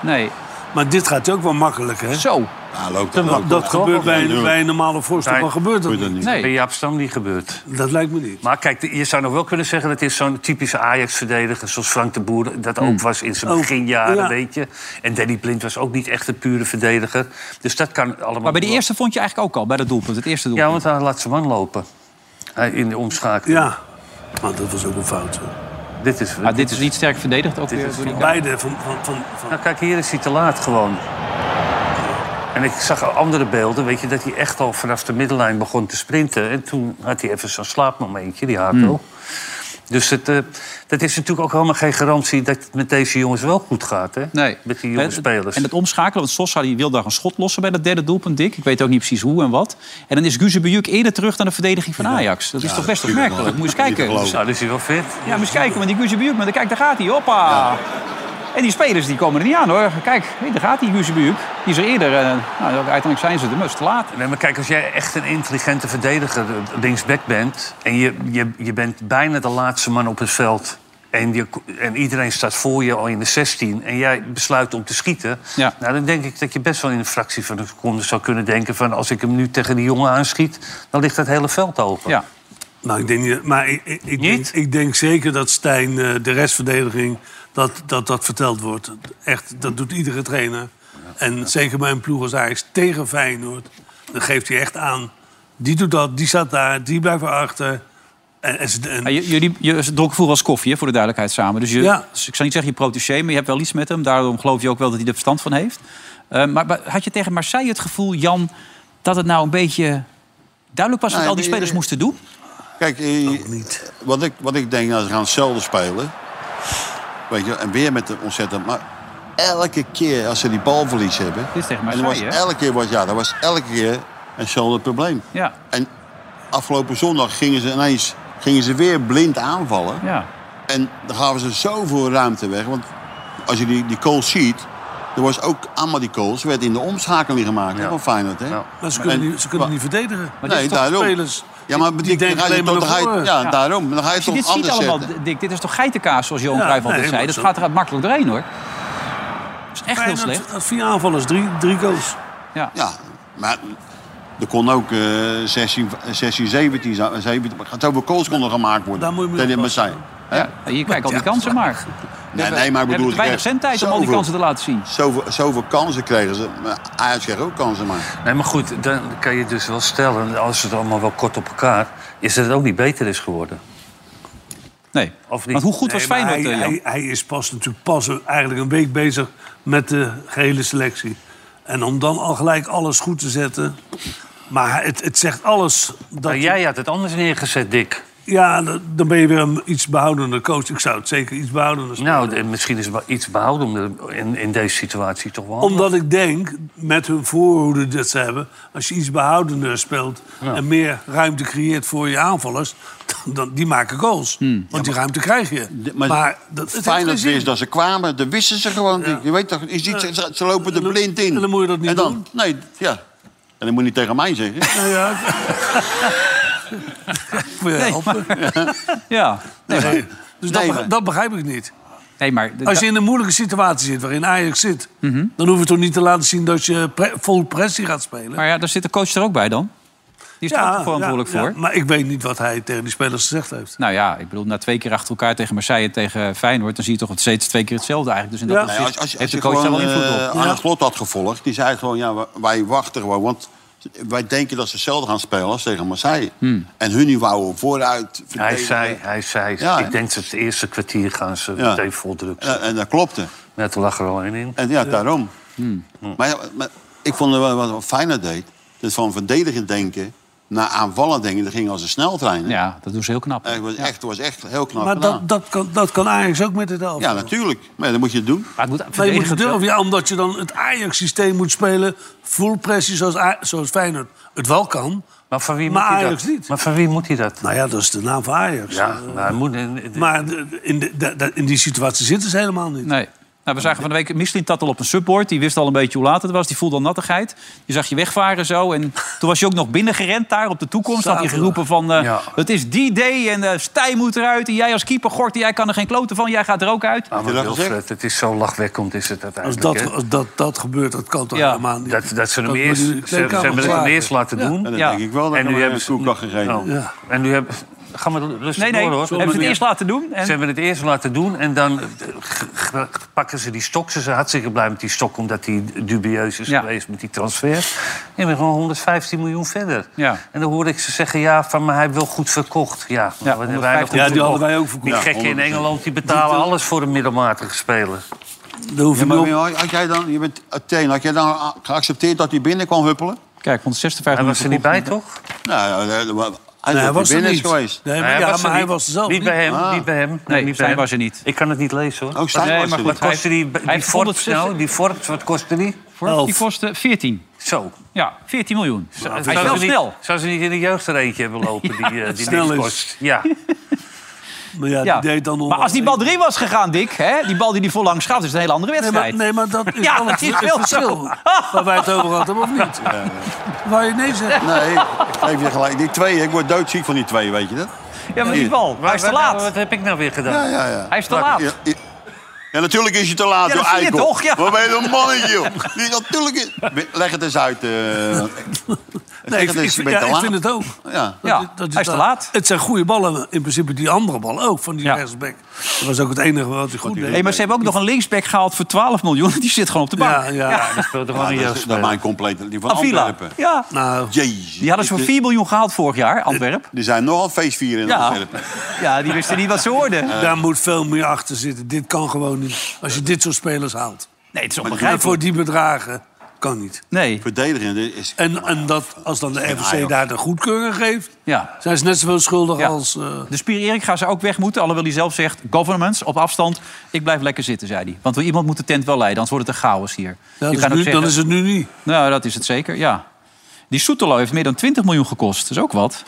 [SPEAKER 3] Nee.
[SPEAKER 4] Maar dit gaat ook wel makkelijk, hè?
[SPEAKER 3] Zo.
[SPEAKER 2] Ja, loopt
[SPEAKER 4] Dat,
[SPEAKER 2] loopt-
[SPEAKER 4] dat gebeurt bij een,
[SPEAKER 2] natuurlijk.
[SPEAKER 4] bij een normale voorstel,
[SPEAKER 5] Nee.
[SPEAKER 4] maar gebeurt dat
[SPEAKER 2] Moet je dat
[SPEAKER 4] niet?
[SPEAKER 2] niet.
[SPEAKER 3] Nee.
[SPEAKER 5] Bij Jaap Stam niet gebeurd.
[SPEAKER 4] Dat lijkt me niet.
[SPEAKER 5] Maar kijk, de- je zou nog wel kunnen zeggen... dat is zo'n typische Ajax-verdediger zoals Frank de Boer... dat ook was in zijn
[SPEAKER 4] Ook,
[SPEAKER 5] beginjaren,
[SPEAKER 4] ja.
[SPEAKER 5] weet je. En Danny Blind was ook niet echt een pure verdediger. Dus dat kan allemaal...
[SPEAKER 3] Maar bij de eerste vond je eigenlijk ook al, bij dat doelpunt. Het eerste doelpunt.
[SPEAKER 5] Ja, want hij laat zijn man lopen. Hij- In de omschakeling.
[SPEAKER 4] Ja, maar dat was ook een fout. hè.
[SPEAKER 5] Dit is...
[SPEAKER 3] Ah, dit is niet sterk verdedigd ook weer door die guy.
[SPEAKER 4] Beide van... van, van, van-
[SPEAKER 5] Nou, kijk, hier is hij te laat gewoon. En ik zag andere beelden, weet je, dat hij echt al vanaf de middenlijn begon te sprinten. En toen had hij even zo'n slaapmomentje, die Hato.
[SPEAKER 3] Hmm.
[SPEAKER 5] Dus het, eh, dat is natuurlijk ook helemaal geen garantie dat het met deze jongens wel goed gaat, hè?
[SPEAKER 3] Nee.
[SPEAKER 5] Met die jonge
[SPEAKER 3] En-
[SPEAKER 5] spelers.
[SPEAKER 3] En dat omschakelen, want Sosa die wil daar een schot lossen bij dat derde doelpunt, Dick. Ik weet ook niet precies hoe en wat. En dan is Guzebujuk eerder terug dan de verdediging van Ajax. Dat is toch best
[SPEAKER 2] dat vind ik
[SPEAKER 3] opmerkelijk.
[SPEAKER 2] wel.
[SPEAKER 3] Moet je
[SPEAKER 2] Niet
[SPEAKER 3] eens
[SPEAKER 2] te
[SPEAKER 3] kijken.
[SPEAKER 2] geloven.
[SPEAKER 5] Nou, dus hij wel fit.
[SPEAKER 3] Ja, moet eens kijken, want die Guzebujuk, maar dan kijk, daar gaat hij. Hoppa! En die spelers die komen er niet aan hoor. Kijk, hé, daar gaat die Guzebujuk. Die is er eerder. eh, nou, uiteindelijk zijn ze er, maar het is te laat.
[SPEAKER 5] Nee, maar kijk, als jij echt een intelligente verdediger eh, linksback bent... en je, je, je bent bijna de laatste man op het veld... En, je, en iedereen staat voor je al in de 16 en jij besluit om te schieten...
[SPEAKER 3] Ja.
[SPEAKER 5] Nou, dan denk ik dat je best wel in een fractie van een seconde zou kunnen denken... van als ik hem nu tegen die jongen aanschiet, dan ligt dat hele veld open.
[SPEAKER 3] Ja.
[SPEAKER 4] Nou, ik denk niet... Maar ik, ik, ik Denk,
[SPEAKER 5] Niet?
[SPEAKER 4] ik denk zeker dat Stijn, eh, de restverdediging, dat, dat dat verteld wordt. Echt, dat doet iedere trainer. En zeker bij een ploeg als Ajax tegen Feyenoord. Dan geeft hij echt aan, die doet dat, die staat daar, die blijft erachter. En, en, ze- en-
[SPEAKER 3] Ja, Ah, j- jullie je, ze dronken vroeger als koffie, hè, voor de duidelijkheid samen. Dus, je,
[SPEAKER 4] Ja.
[SPEAKER 3] dus ik zou niet zeggen je protégé, maar je hebt wel iets met hem. Daarom geloof je ook wel dat hij er verstand van heeft. Eh, maar, maar had je tegen Marseille het gevoel, Jan, dat het nou een beetje duidelijk was wat
[SPEAKER 2] Nee,
[SPEAKER 3] al die
[SPEAKER 2] maar je-
[SPEAKER 3] spelers moesten doen?
[SPEAKER 2] Kijk, eh, Wat, ik, wat ik denk, nou, ze gaan hetzelfde spelen. Weet je, en weer met de ontzettend... Maar elke keer als ze die balverlies hebben...
[SPEAKER 3] Dit is tegen
[SPEAKER 2] en dan was
[SPEAKER 3] Marseille, hè?
[SPEAKER 2] elke keer was, Ja, dat was elke keer hetzelfde probleem.
[SPEAKER 3] Ja,
[SPEAKER 2] En afgelopen zondag gingen ze ineens gingen ze weer blind aanvallen.
[SPEAKER 3] ja.
[SPEAKER 2] En dan gaven ze zoveel ruimte weg. Want als je die, die goals ziet... Er was ook allemaal die goals. werd in de omschakeling gemaakt hè, van Feyenoord. Hè?
[SPEAKER 5] Ja.
[SPEAKER 4] maar ze kunnen,
[SPEAKER 2] en-
[SPEAKER 4] niet, ze kunnen niet verdedigen.
[SPEAKER 3] dit is toch
[SPEAKER 4] spelers
[SPEAKER 2] Ja, maar
[SPEAKER 4] die
[SPEAKER 2] die, dan
[SPEAKER 4] denken
[SPEAKER 2] ga je
[SPEAKER 4] alleen maar
[SPEAKER 2] toch, dan ga
[SPEAKER 4] naar
[SPEAKER 2] je,
[SPEAKER 4] voren.
[SPEAKER 2] ja, daarom. Dan ga je
[SPEAKER 3] Als je
[SPEAKER 2] toch
[SPEAKER 3] dit ziet
[SPEAKER 2] anders
[SPEAKER 3] allemaal,
[SPEAKER 2] zetten.
[SPEAKER 3] Dick, dit is toch geitenkaas, zoals Johan
[SPEAKER 4] Ja,
[SPEAKER 3] Cruijff altijd
[SPEAKER 4] nee,
[SPEAKER 3] zei.
[SPEAKER 4] maar
[SPEAKER 3] Dat
[SPEAKER 4] zo.
[SPEAKER 3] gaat er makkelijk doorheen, hoor. Dat is echt heel
[SPEAKER 4] Feyenoord
[SPEAKER 3] slecht.
[SPEAKER 4] had vier aanvallers, drie, drie goals.
[SPEAKER 3] Ja.
[SPEAKER 2] Ja, maar er kon ook eh 16, 16, 17, zou- 17 maar zoveel goals konden gemaakt worden.
[SPEAKER 4] Daar moet je mee
[SPEAKER 2] tegen
[SPEAKER 4] oppassen.
[SPEAKER 2] Marseille.
[SPEAKER 3] Ja. Hier, kijk, al die kansen maar.
[SPEAKER 2] Nee, nee, maar ik
[SPEAKER 3] We hebben
[SPEAKER 2] bedoel...
[SPEAKER 3] te weinig
[SPEAKER 2] ik zeg,
[SPEAKER 3] zendtijd om al die
[SPEAKER 2] zoveel-
[SPEAKER 3] kansen te laten zien.
[SPEAKER 2] Zoveel, zoveel kansen kregen ze. Maar Ajax kreeg ook kansen, maar...
[SPEAKER 5] Nee, maar goed, dan kan je dus wel stellen, als het allemaal wel kort op elkaar... is dat het ook niet beter is geworden.
[SPEAKER 3] Nee.
[SPEAKER 5] Of niet?
[SPEAKER 3] Want hoe goed was
[SPEAKER 4] Nee, maar
[SPEAKER 3] Feyenoord, eh,
[SPEAKER 4] hij,
[SPEAKER 3] Jan?
[SPEAKER 4] hij, hij is pas natuurlijk pas een- eigenlijk een week bezig met de gehele selectie. En om dan al gelijk alles goed te zetten. Maar hij- het, het zegt alles. Dat
[SPEAKER 5] Maar jij had het anders neergezet, Dick.
[SPEAKER 4] Ja, dan- dan ben je weer een iets behoudende coach. Ik zou het zeker iets behoudender
[SPEAKER 3] Hm.
[SPEAKER 4] spelen.
[SPEAKER 5] Nou, de- misschien is wel iets behouden om de- in, in deze situatie toch wel.
[SPEAKER 4] Omdat ik denk, met hun voorhoede dat ze hebben... als je iets behoudender speelt en meer ruimte creëert voor je aanvallers... Dan, dan- die maken goals.
[SPEAKER 3] Hmm.
[SPEAKER 4] Want die ruimte krijg je. maar dat, het heeft geen
[SPEAKER 2] Feyenoord
[SPEAKER 4] zin.
[SPEAKER 2] wist dat ze kwamen, dan wisten ze gewoon. Je weet toch, je ziet, ze, ze- ze lopen er
[SPEAKER 4] En dan-
[SPEAKER 2] blind in.
[SPEAKER 4] en dan moet je dat niet
[SPEAKER 2] En dan,
[SPEAKER 4] doen?
[SPEAKER 2] Nee, ja. En dan moet je niet tegen mij zeggen.
[SPEAKER 4] Nou ja, Moet je
[SPEAKER 3] Nee,
[SPEAKER 4] helpen?
[SPEAKER 3] Ja. Nee, maar-
[SPEAKER 4] Nee. Dus dat,
[SPEAKER 3] Nee,
[SPEAKER 4] beg-
[SPEAKER 3] maar-
[SPEAKER 4] dat begrijp ik niet.
[SPEAKER 3] Nee, maar...
[SPEAKER 4] Als je in een moeilijke situatie zit waarin Ajax zit...
[SPEAKER 3] Mhm.
[SPEAKER 4] dan hoef je toch niet te laten zien dat je pre- vol pressie gaat spelen.
[SPEAKER 3] Maar ja, daar zit de coach er ook bij dan. Die is er ook verantwoordelijk
[SPEAKER 4] ja,
[SPEAKER 3] voor.
[SPEAKER 4] ja. maar ik weet niet wat hij tegen die spelers gezegd heeft.
[SPEAKER 3] Nou ja, ik bedoel, na twee keer achter elkaar tegen Marseille en tegen Feyenoord... dan zie je toch steeds twee keer hetzelfde eigenlijk. Dus in dat
[SPEAKER 2] Nee,
[SPEAKER 3] opzicht
[SPEAKER 2] als, als, als
[SPEAKER 3] heeft
[SPEAKER 2] je
[SPEAKER 3] de coach daar
[SPEAKER 2] gewoon
[SPEAKER 3] wel invloed
[SPEAKER 2] eh,
[SPEAKER 3] op.
[SPEAKER 2] Arne Slot had gevolgd, die zei gewoon... ja, wij wachten gewoon, want wij denken dat ze hetzelfde gaan spelen als tegen Marseille. En hun nu wouden vooruit
[SPEAKER 5] Hij
[SPEAKER 2] verdedigen.
[SPEAKER 5] zei, hij zei
[SPEAKER 2] Ja, hè?
[SPEAKER 5] ik denk dat het eerste kwartier gaan ze
[SPEAKER 2] Ja.
[SPEAKER 5] meteen vol druk
[SPEAKER 2] En, en dat klopte.
[SPEAKER 5] Net lag er al één in.
[SPEAKER 2] En ja, daarom. Maar, ja, maar ik vond het wel wat, wat fijner deed. Dus van verdedigen denken naar aanvallen denken. Dat ging als een sneltrein. hè.
[SPEAKER 3] Ja, dat doen ze heel knap.
[SPEAKER 2] Eh, Het was, echt, het was echt heel knap
[SPEAKER 4] maar
[SPEAKER 2] gedaan.
[SPEAKER 3] nou.
[SPEAKER 4] dat, dat, kan, dat kan Ajax ook met dit elftal.
[SPEAKER 2] Ja, natuurlijk. Maar ja, dat moet je doen.
[SPEAKER 3] Maar het moet
[SPEAKER 4] Maar je moet
[SPEAKER 3] verdedigend
[SPEAKER 4] het
[SPEAKER 3] wel-
[SPEAKER 4] durven, ja, omdat je dan het Ajax-systeem moet spelen... vol pressie zoals, A- zoals Feyenoord het wel kan.
[SPEAKER 5] Maar van wie
[SPEAKER 4] Maar
[SPEAKER 5] moet hij
[SPEAKER 4] Ajax
[SPEAKER 5] dat?
[SPEAKER 4] niet.
[SPEAKER 5] Maar van wie moet hij dat?
[SPEAKER 4] Nou ja, dat is de naam van Ajax.
[SPEAKER 5] Ja,
[SPEAKER 4] Eh,
[SPEAKER 5] maar hij moet... eh,
[SPEAKER 4] Maar de- in, de- de- de- in die situatie zitten ze helemaal niet.
[SPEAKER 3] Nee. Nou, we zagen van de week Misselin tat al op een subboard. Die wist al een beetje hoe laat het was. Die voelde al nattigheid. Die zag je wegvaren zo. En toen was je ook nog binnengerend daar op de toekomst. Had je
[SPEAKER 4] Zaterdag.
[SPEAKER 3] geroepen van, eh,
[SPEAKER 5] Ja.
[SPEAKER 3] het is die day en eh Stijn moet eruit. En jij als keeper, Gorty, jij kan er geen kloten van. Jij gaat er ook uit.
[SPEAKER 5] Ah, maar
[SPEAKER 2] je dat
[SPEAKER 5] Wilfred,
[SPEAKER 2] gezegd?
[SPEAKER 5] het is zo lachwekkend is het
[SPEAKER 4] Als
[SPEAKER 5] uiteindelijk.
[SPEAKER 4] dat,
[SPEAKER 5] hè?
[SPEAKER 4] als dat, dat gebeurt, dat kan toch
[SPEAKER 3] Ja,
[SPEAKER 4] helemaal niet.
[SPEAKER 5] dat, dat ze hem
[SPEAKER 4] dat
[SPEAKER 5] eerst,
[SPEAKER 4] moet je-
[SPEAKER 5] ze, ze hebben het hem
[SPEAKER 4] klagen.
[SPEAKER 5] eerst laten doen.
[SPEAKER 2] En dan
[SPEAKER 3] Ja.
[SPEAKER 2] denk ik wel dat
[SPEAKER 5] En
[SPEAKER 2] en
[SPEAKER 5] nu
[SPEAKER 2] nu
[SPEAKER 5] hebben
[SPEAKER 2] hebben
[SPEAKER 5] ze-
[SPEAKER 2] koekdag gegeten.
[SPEAKER 5] Oh. En nu hebben... Gaan we rustig
[SPEAKER 3] Nee, nee.
[SPEAKER 5] door, hoor.
[SPEAKER 3] Hebben ze het eerst laten doen.
[SPEAKER 5] Ze
[SPEAKER 3] En,
[SPEAKER 5] hebben het eerst laten doen en dan eh, g- g- pakken ze die stok. Ze zijn hartstikke blij met die stok, omdat die dubieus is
[SPEAKER 3] Ja.
[SPEAKER 5] geweest met die transfer. En we gewoon 115 miljoen verder.
[SPEAKER 3] Ja.
[SPEAKER 5] En dan hoorde ik ze zeggen, ja, van, maar hij heeft wel goed verkocht. Ja,
[SPEAKER 3] Ja,
[SPEAKER 5] wat hebben
[SPEAKER 3] 115
[SPEAKER 5] goed
[SPEAKER 4] Ja, die hadden wij ook verkocht.
[SPEAKER 5] Die
[SPEAKER 4] Ja,
[SPEAKER 5] gekken in Engeland, die betalen alles voor een middelmatige speler.
[SPEAKER 4] Daar hoef je
[SPEAKER 2] Ja, maar
[SPEAKER 4] niet op-
[SPEAKER 2] Wim, had jij dan, je bent Athene, had jij dan geaccepteerd dat hij binnen kwam huppelen?
[SPEAKER 3] kijk, 156
[SPEAKER 5] Hij was er niet bij, toch?
[SPEAKER 2] Nou, ja, hij,
[SPEAKER 4] Nee, hij was er
[SPEAKER 2] binnen
[SPEAKER 4] niet.
[SPEAKER 2] geweest.
[SPEAKER 4] Nee, maar,
[SPEAKER 5] Nee,
[SPEAKER 4] ja,
[SPEAKER 5] was er
[SPEAKER 4] maar hij
[SPEAKER 5] niet.
[SPEAKER 4] was er zelf
[SPEAKER 5] Niet bij hem,
[SPEAKER 2] Ah.
[SPEAKER 5] niet bij hem.
[SPEAKER 3] Nee,
[SPEAKER 5] niet bij
[SPEAKER 3] Stijn
[SPEAKER 5] hem.
[SPEAKER 3] was er niet.
[SPEAKER 5] Ik kan het niet lezen, hoor.
[SPEAKER 2] Ook Oh, Stijn
[SPEAKER 3] Nee,
[SPEAKER 2] was
[SPEAKER 3] maar
[SPEAKER 2] er
[SPEAKER 3] goed,
[SPEAKER 2] niet.
[SPEAKER 5] Wat kostte die,
[SPEAKER 3] Hij
[SPEAKER 5] die
[SPEAKER 3] heeft
[SPEAKER 5] Ford
[SPEAKER 3] 160
[SPEAKER 5] nou? Die Ford, wat kostte die?
[SPEAKER 3] Voor, die
[SPEAKER 4] Elf.
[SPEAKER 3] kostte 14.
[SPEAKER 5] Zo.
[SPEAKER 3] Ja, 14 miljoen. Hij is
[SPEAKER 5] Zou
[SPEAKER 3] wel
[SPEAKER 5] ze niet-
[SPEAKER 3] snel.
[SPEAKER 5] Zou ze niet in de jeugd er eentje hebben lopen die, eh, die
[SPEAKER 4] snel
[SPEAKER 5] niks
[SPEAKER 4] is.
[SPEAKER 5] kost? Ja.
[SPEAKER 4] Maar ja,
[SPEAKER 3] Ja.
[SPEAKER 4] die deed dan
[SPEAKER 3] Maar
[SPEAKER 4] onder-
[SPEAKER 3] als die bal erin was gegaan, Dick, hè, die bal die die vol langs gaat, is het een hele andere
[SPEAKER 4] Nee maar,
[SPEAKER 3] wedstrijd.
[SPEAKER 4] nee, maar dat is
[SPEAKER 3] Ja,
[SPEAKER 4] wel
[SPEAKER 3] het
[SPEAKER 4] het,
[SPEAKER 3] is
[SPEAKER 4] het
[SPEAKER 3] wel
[SPEAKER 4] verschil. Waar wij het over gehad hebben, of niet? Waar je nee zegt.
[SPEAKER 2] Nee, ik geef je gelijk. Die twee, ik word doodziek van die twee, weet je dat?
[SPEAKER 3] Ja, maar die bal. Hij is te
[SPEAKER 5] Wat-
[SPEAKER 3] laat.
[SPEAKER 5] Wat heb ik nou weer gedaan?
[SPEAKER 2] Ja, ja, ja.
[SPEAKER 3] Hij is te laat.
[SPEAKER 2] Ja, ja. Ja, natuurlijk is je te laat,
[SPEAKER 3] Ja,
[SPEAKER 2] door
[SPEAKER 3] dat zie je
[SPEAKER 2] eikel.
[SPEAKER 3] toch, ja.
[SPEAKER 2] Waar ben je een mannetje, joh? Die, natuurlijk is... Leg het eens uit. eh.
[SPEAKER 4] Nee,
[SPEAKER 2] Zeg
[SPEAKER 4] ik,
[SPEAKER 2] het eens, je
[SPEAKER 4] ik-
[SPEAKER 2] bent
[SPEAKER 4] ja,
[SPEAKER 2] te
[SPEAKER 4] ik
[SPEAKER 2] laat.
[SPEAKER 4] vind het ook.
[SPEAKER 2] Ja.
[SPEAKER 3] Ja, hij is te laat.
[SPEAKER 4] Het zijn goede ballen, in principe die andere ballen ook, van die
[SPEAKER 3] Ja.
[SPEAKER 4] rechtsback. Dat was ook het enige wat hij goed deed.
[SPEAKER 3] Hey, maar ze hebben ook nog een linksback gehaald voor 12 miljoen. Die zit gewoon op de bank.
[SPEAKER 4] Ja, ja,
[SPEAKER 5] Die speelde gewoon
[SPEAKER 2] Ja, dat is- dat
[SPEAKER 5] een
[SPEAKER 2] is
[SPEAKER 5] jeugdspeler.
[SPEAKER 2] mijn complete... Die van
[SPEAKER 3] Avila.
[SPEAKER 2] Antwerpen.
[SPEAKER 3] Ja.
[SPEAKER 4] Nou,
[SPEAKER 2] Jezus.
[SPEAKER 3] Die hadden ze voor
[SPEAKER 2] Ik-
[SPEAKER 3] 4 miljoen gehaald vorig jaar, Antwerp.
[SPEAKER 2] Er zijn nogal feestvieren in
[SPEAKER 3] Ja.
[SPEAKER 2] Antwerpen.
[SPEAKER 3] ja, die wisten niet wat ze hoorden.
[SPEAKER 4] daar moet veel meer achter zitten. Dit kan gewoon niet. Als je dit soort spelers haalt.
[SPEAKER 3] Nee, het is
[SPEAKER 4] En voor
[SPEAKER 3] onbegrijpelijk.
[SPEAKER 4] die bedragen kan niet.
[SPEAKER 3] Nee,
[SPEAKER 2] Verdedigen dit is...
[SPEAKER 4] En, en dat, als dan de RVC
[SPEAKER 2] Ajax.
[SPEAKER 4] daar de goedkeuring geeft,
[SPEAKER 3] ja.
[SPEAKER 4] zijn ze net zoveel schuldig
[SPEAKER 3] Ja.
[SPEAKER 4] als. eh,
[SPEAKER 3] De spier Erik gaan ze ook weg moeten. Alhoewel hij zelf zegt, governments, op afstand. Ik blijf lekker zitten, zei hij. Want iemand moet de tent wel leiden, anders wordt het een chaos hier.
[SPEAKER 4] ja,
[SPEAKER 3] Je
[SPEAKER 4] dus
[SPEAKER 3] kan ook
[SPEAKER 4] nu-
[SPEAKER 3] zeggen-
[SPEAKER 4] dan is het nu niet.
[SPEAKER 3] Nou, dat is het zeker, ja. Die Soetelo heeft meer dan 20 miljoen gekost. Dat is ook wat.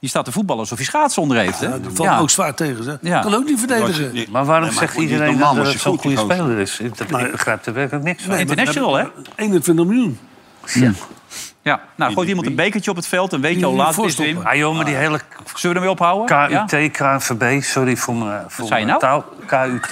[SPEAKER 3] Die staat te voetballen alsof hij schaatsen onder heeft. Hè?
[SPEAKER 4] Ja, die valt
[SPEAKER 3] Ja.
[SPEAKER 4] ook zwaar tegen. Ze.
[SPEAKER 3] Ja.
[SPEAKER 4] Kan ook niet verdedigen.
[SPEAKER 2] Nee,
[SPEAKER 5] Maar waarom zegt
[SPEAKER 2] goed, die is
[SPEAKER 5] iedereen
[SPEAKER 2] normaal
[SPEAKER 5] dat
[SPEAKER 2] als
[SPEAKER 5] het
[SPEAKER 2] je
[SPEAKER 5] zo'n
[SPEAKER 2] goed
[SPEAKER 5] goede
[SPEAKER 2] die gozer.
[SPEAKER 5] speler is? Ik, dat, ik begrijp er werkelijk niks van.
[SPEAKER 4] Nee, maar-
[SPEAKER 3] International, hè?
[SPEAKER 4] 21 miljoen.
[SPEAKER 3] Ja. Nou, gooit iemand een bekertje op het veld en weet je
[SPEAKER 4] Die
[SPEAKER 3] al
[SPEAKER 4] moet
[SPEAKER 3] laat het is
[SPEAKER 4] voorstoppen.
[SPEAKER 3] Wim.
[SPEAKER 5] Ah joh, maar die hele
[SPEAKER 3] Zullen we ermee ophouden? Ja?
[SPEAKER 5] KUT, KNVB, sorry voor mijn, voor
[SPEAKER 3] zei je
[SPEAKER 5] mijn
[SPEAKER 3] nou?
[SPEAKER 5] taal. KUT.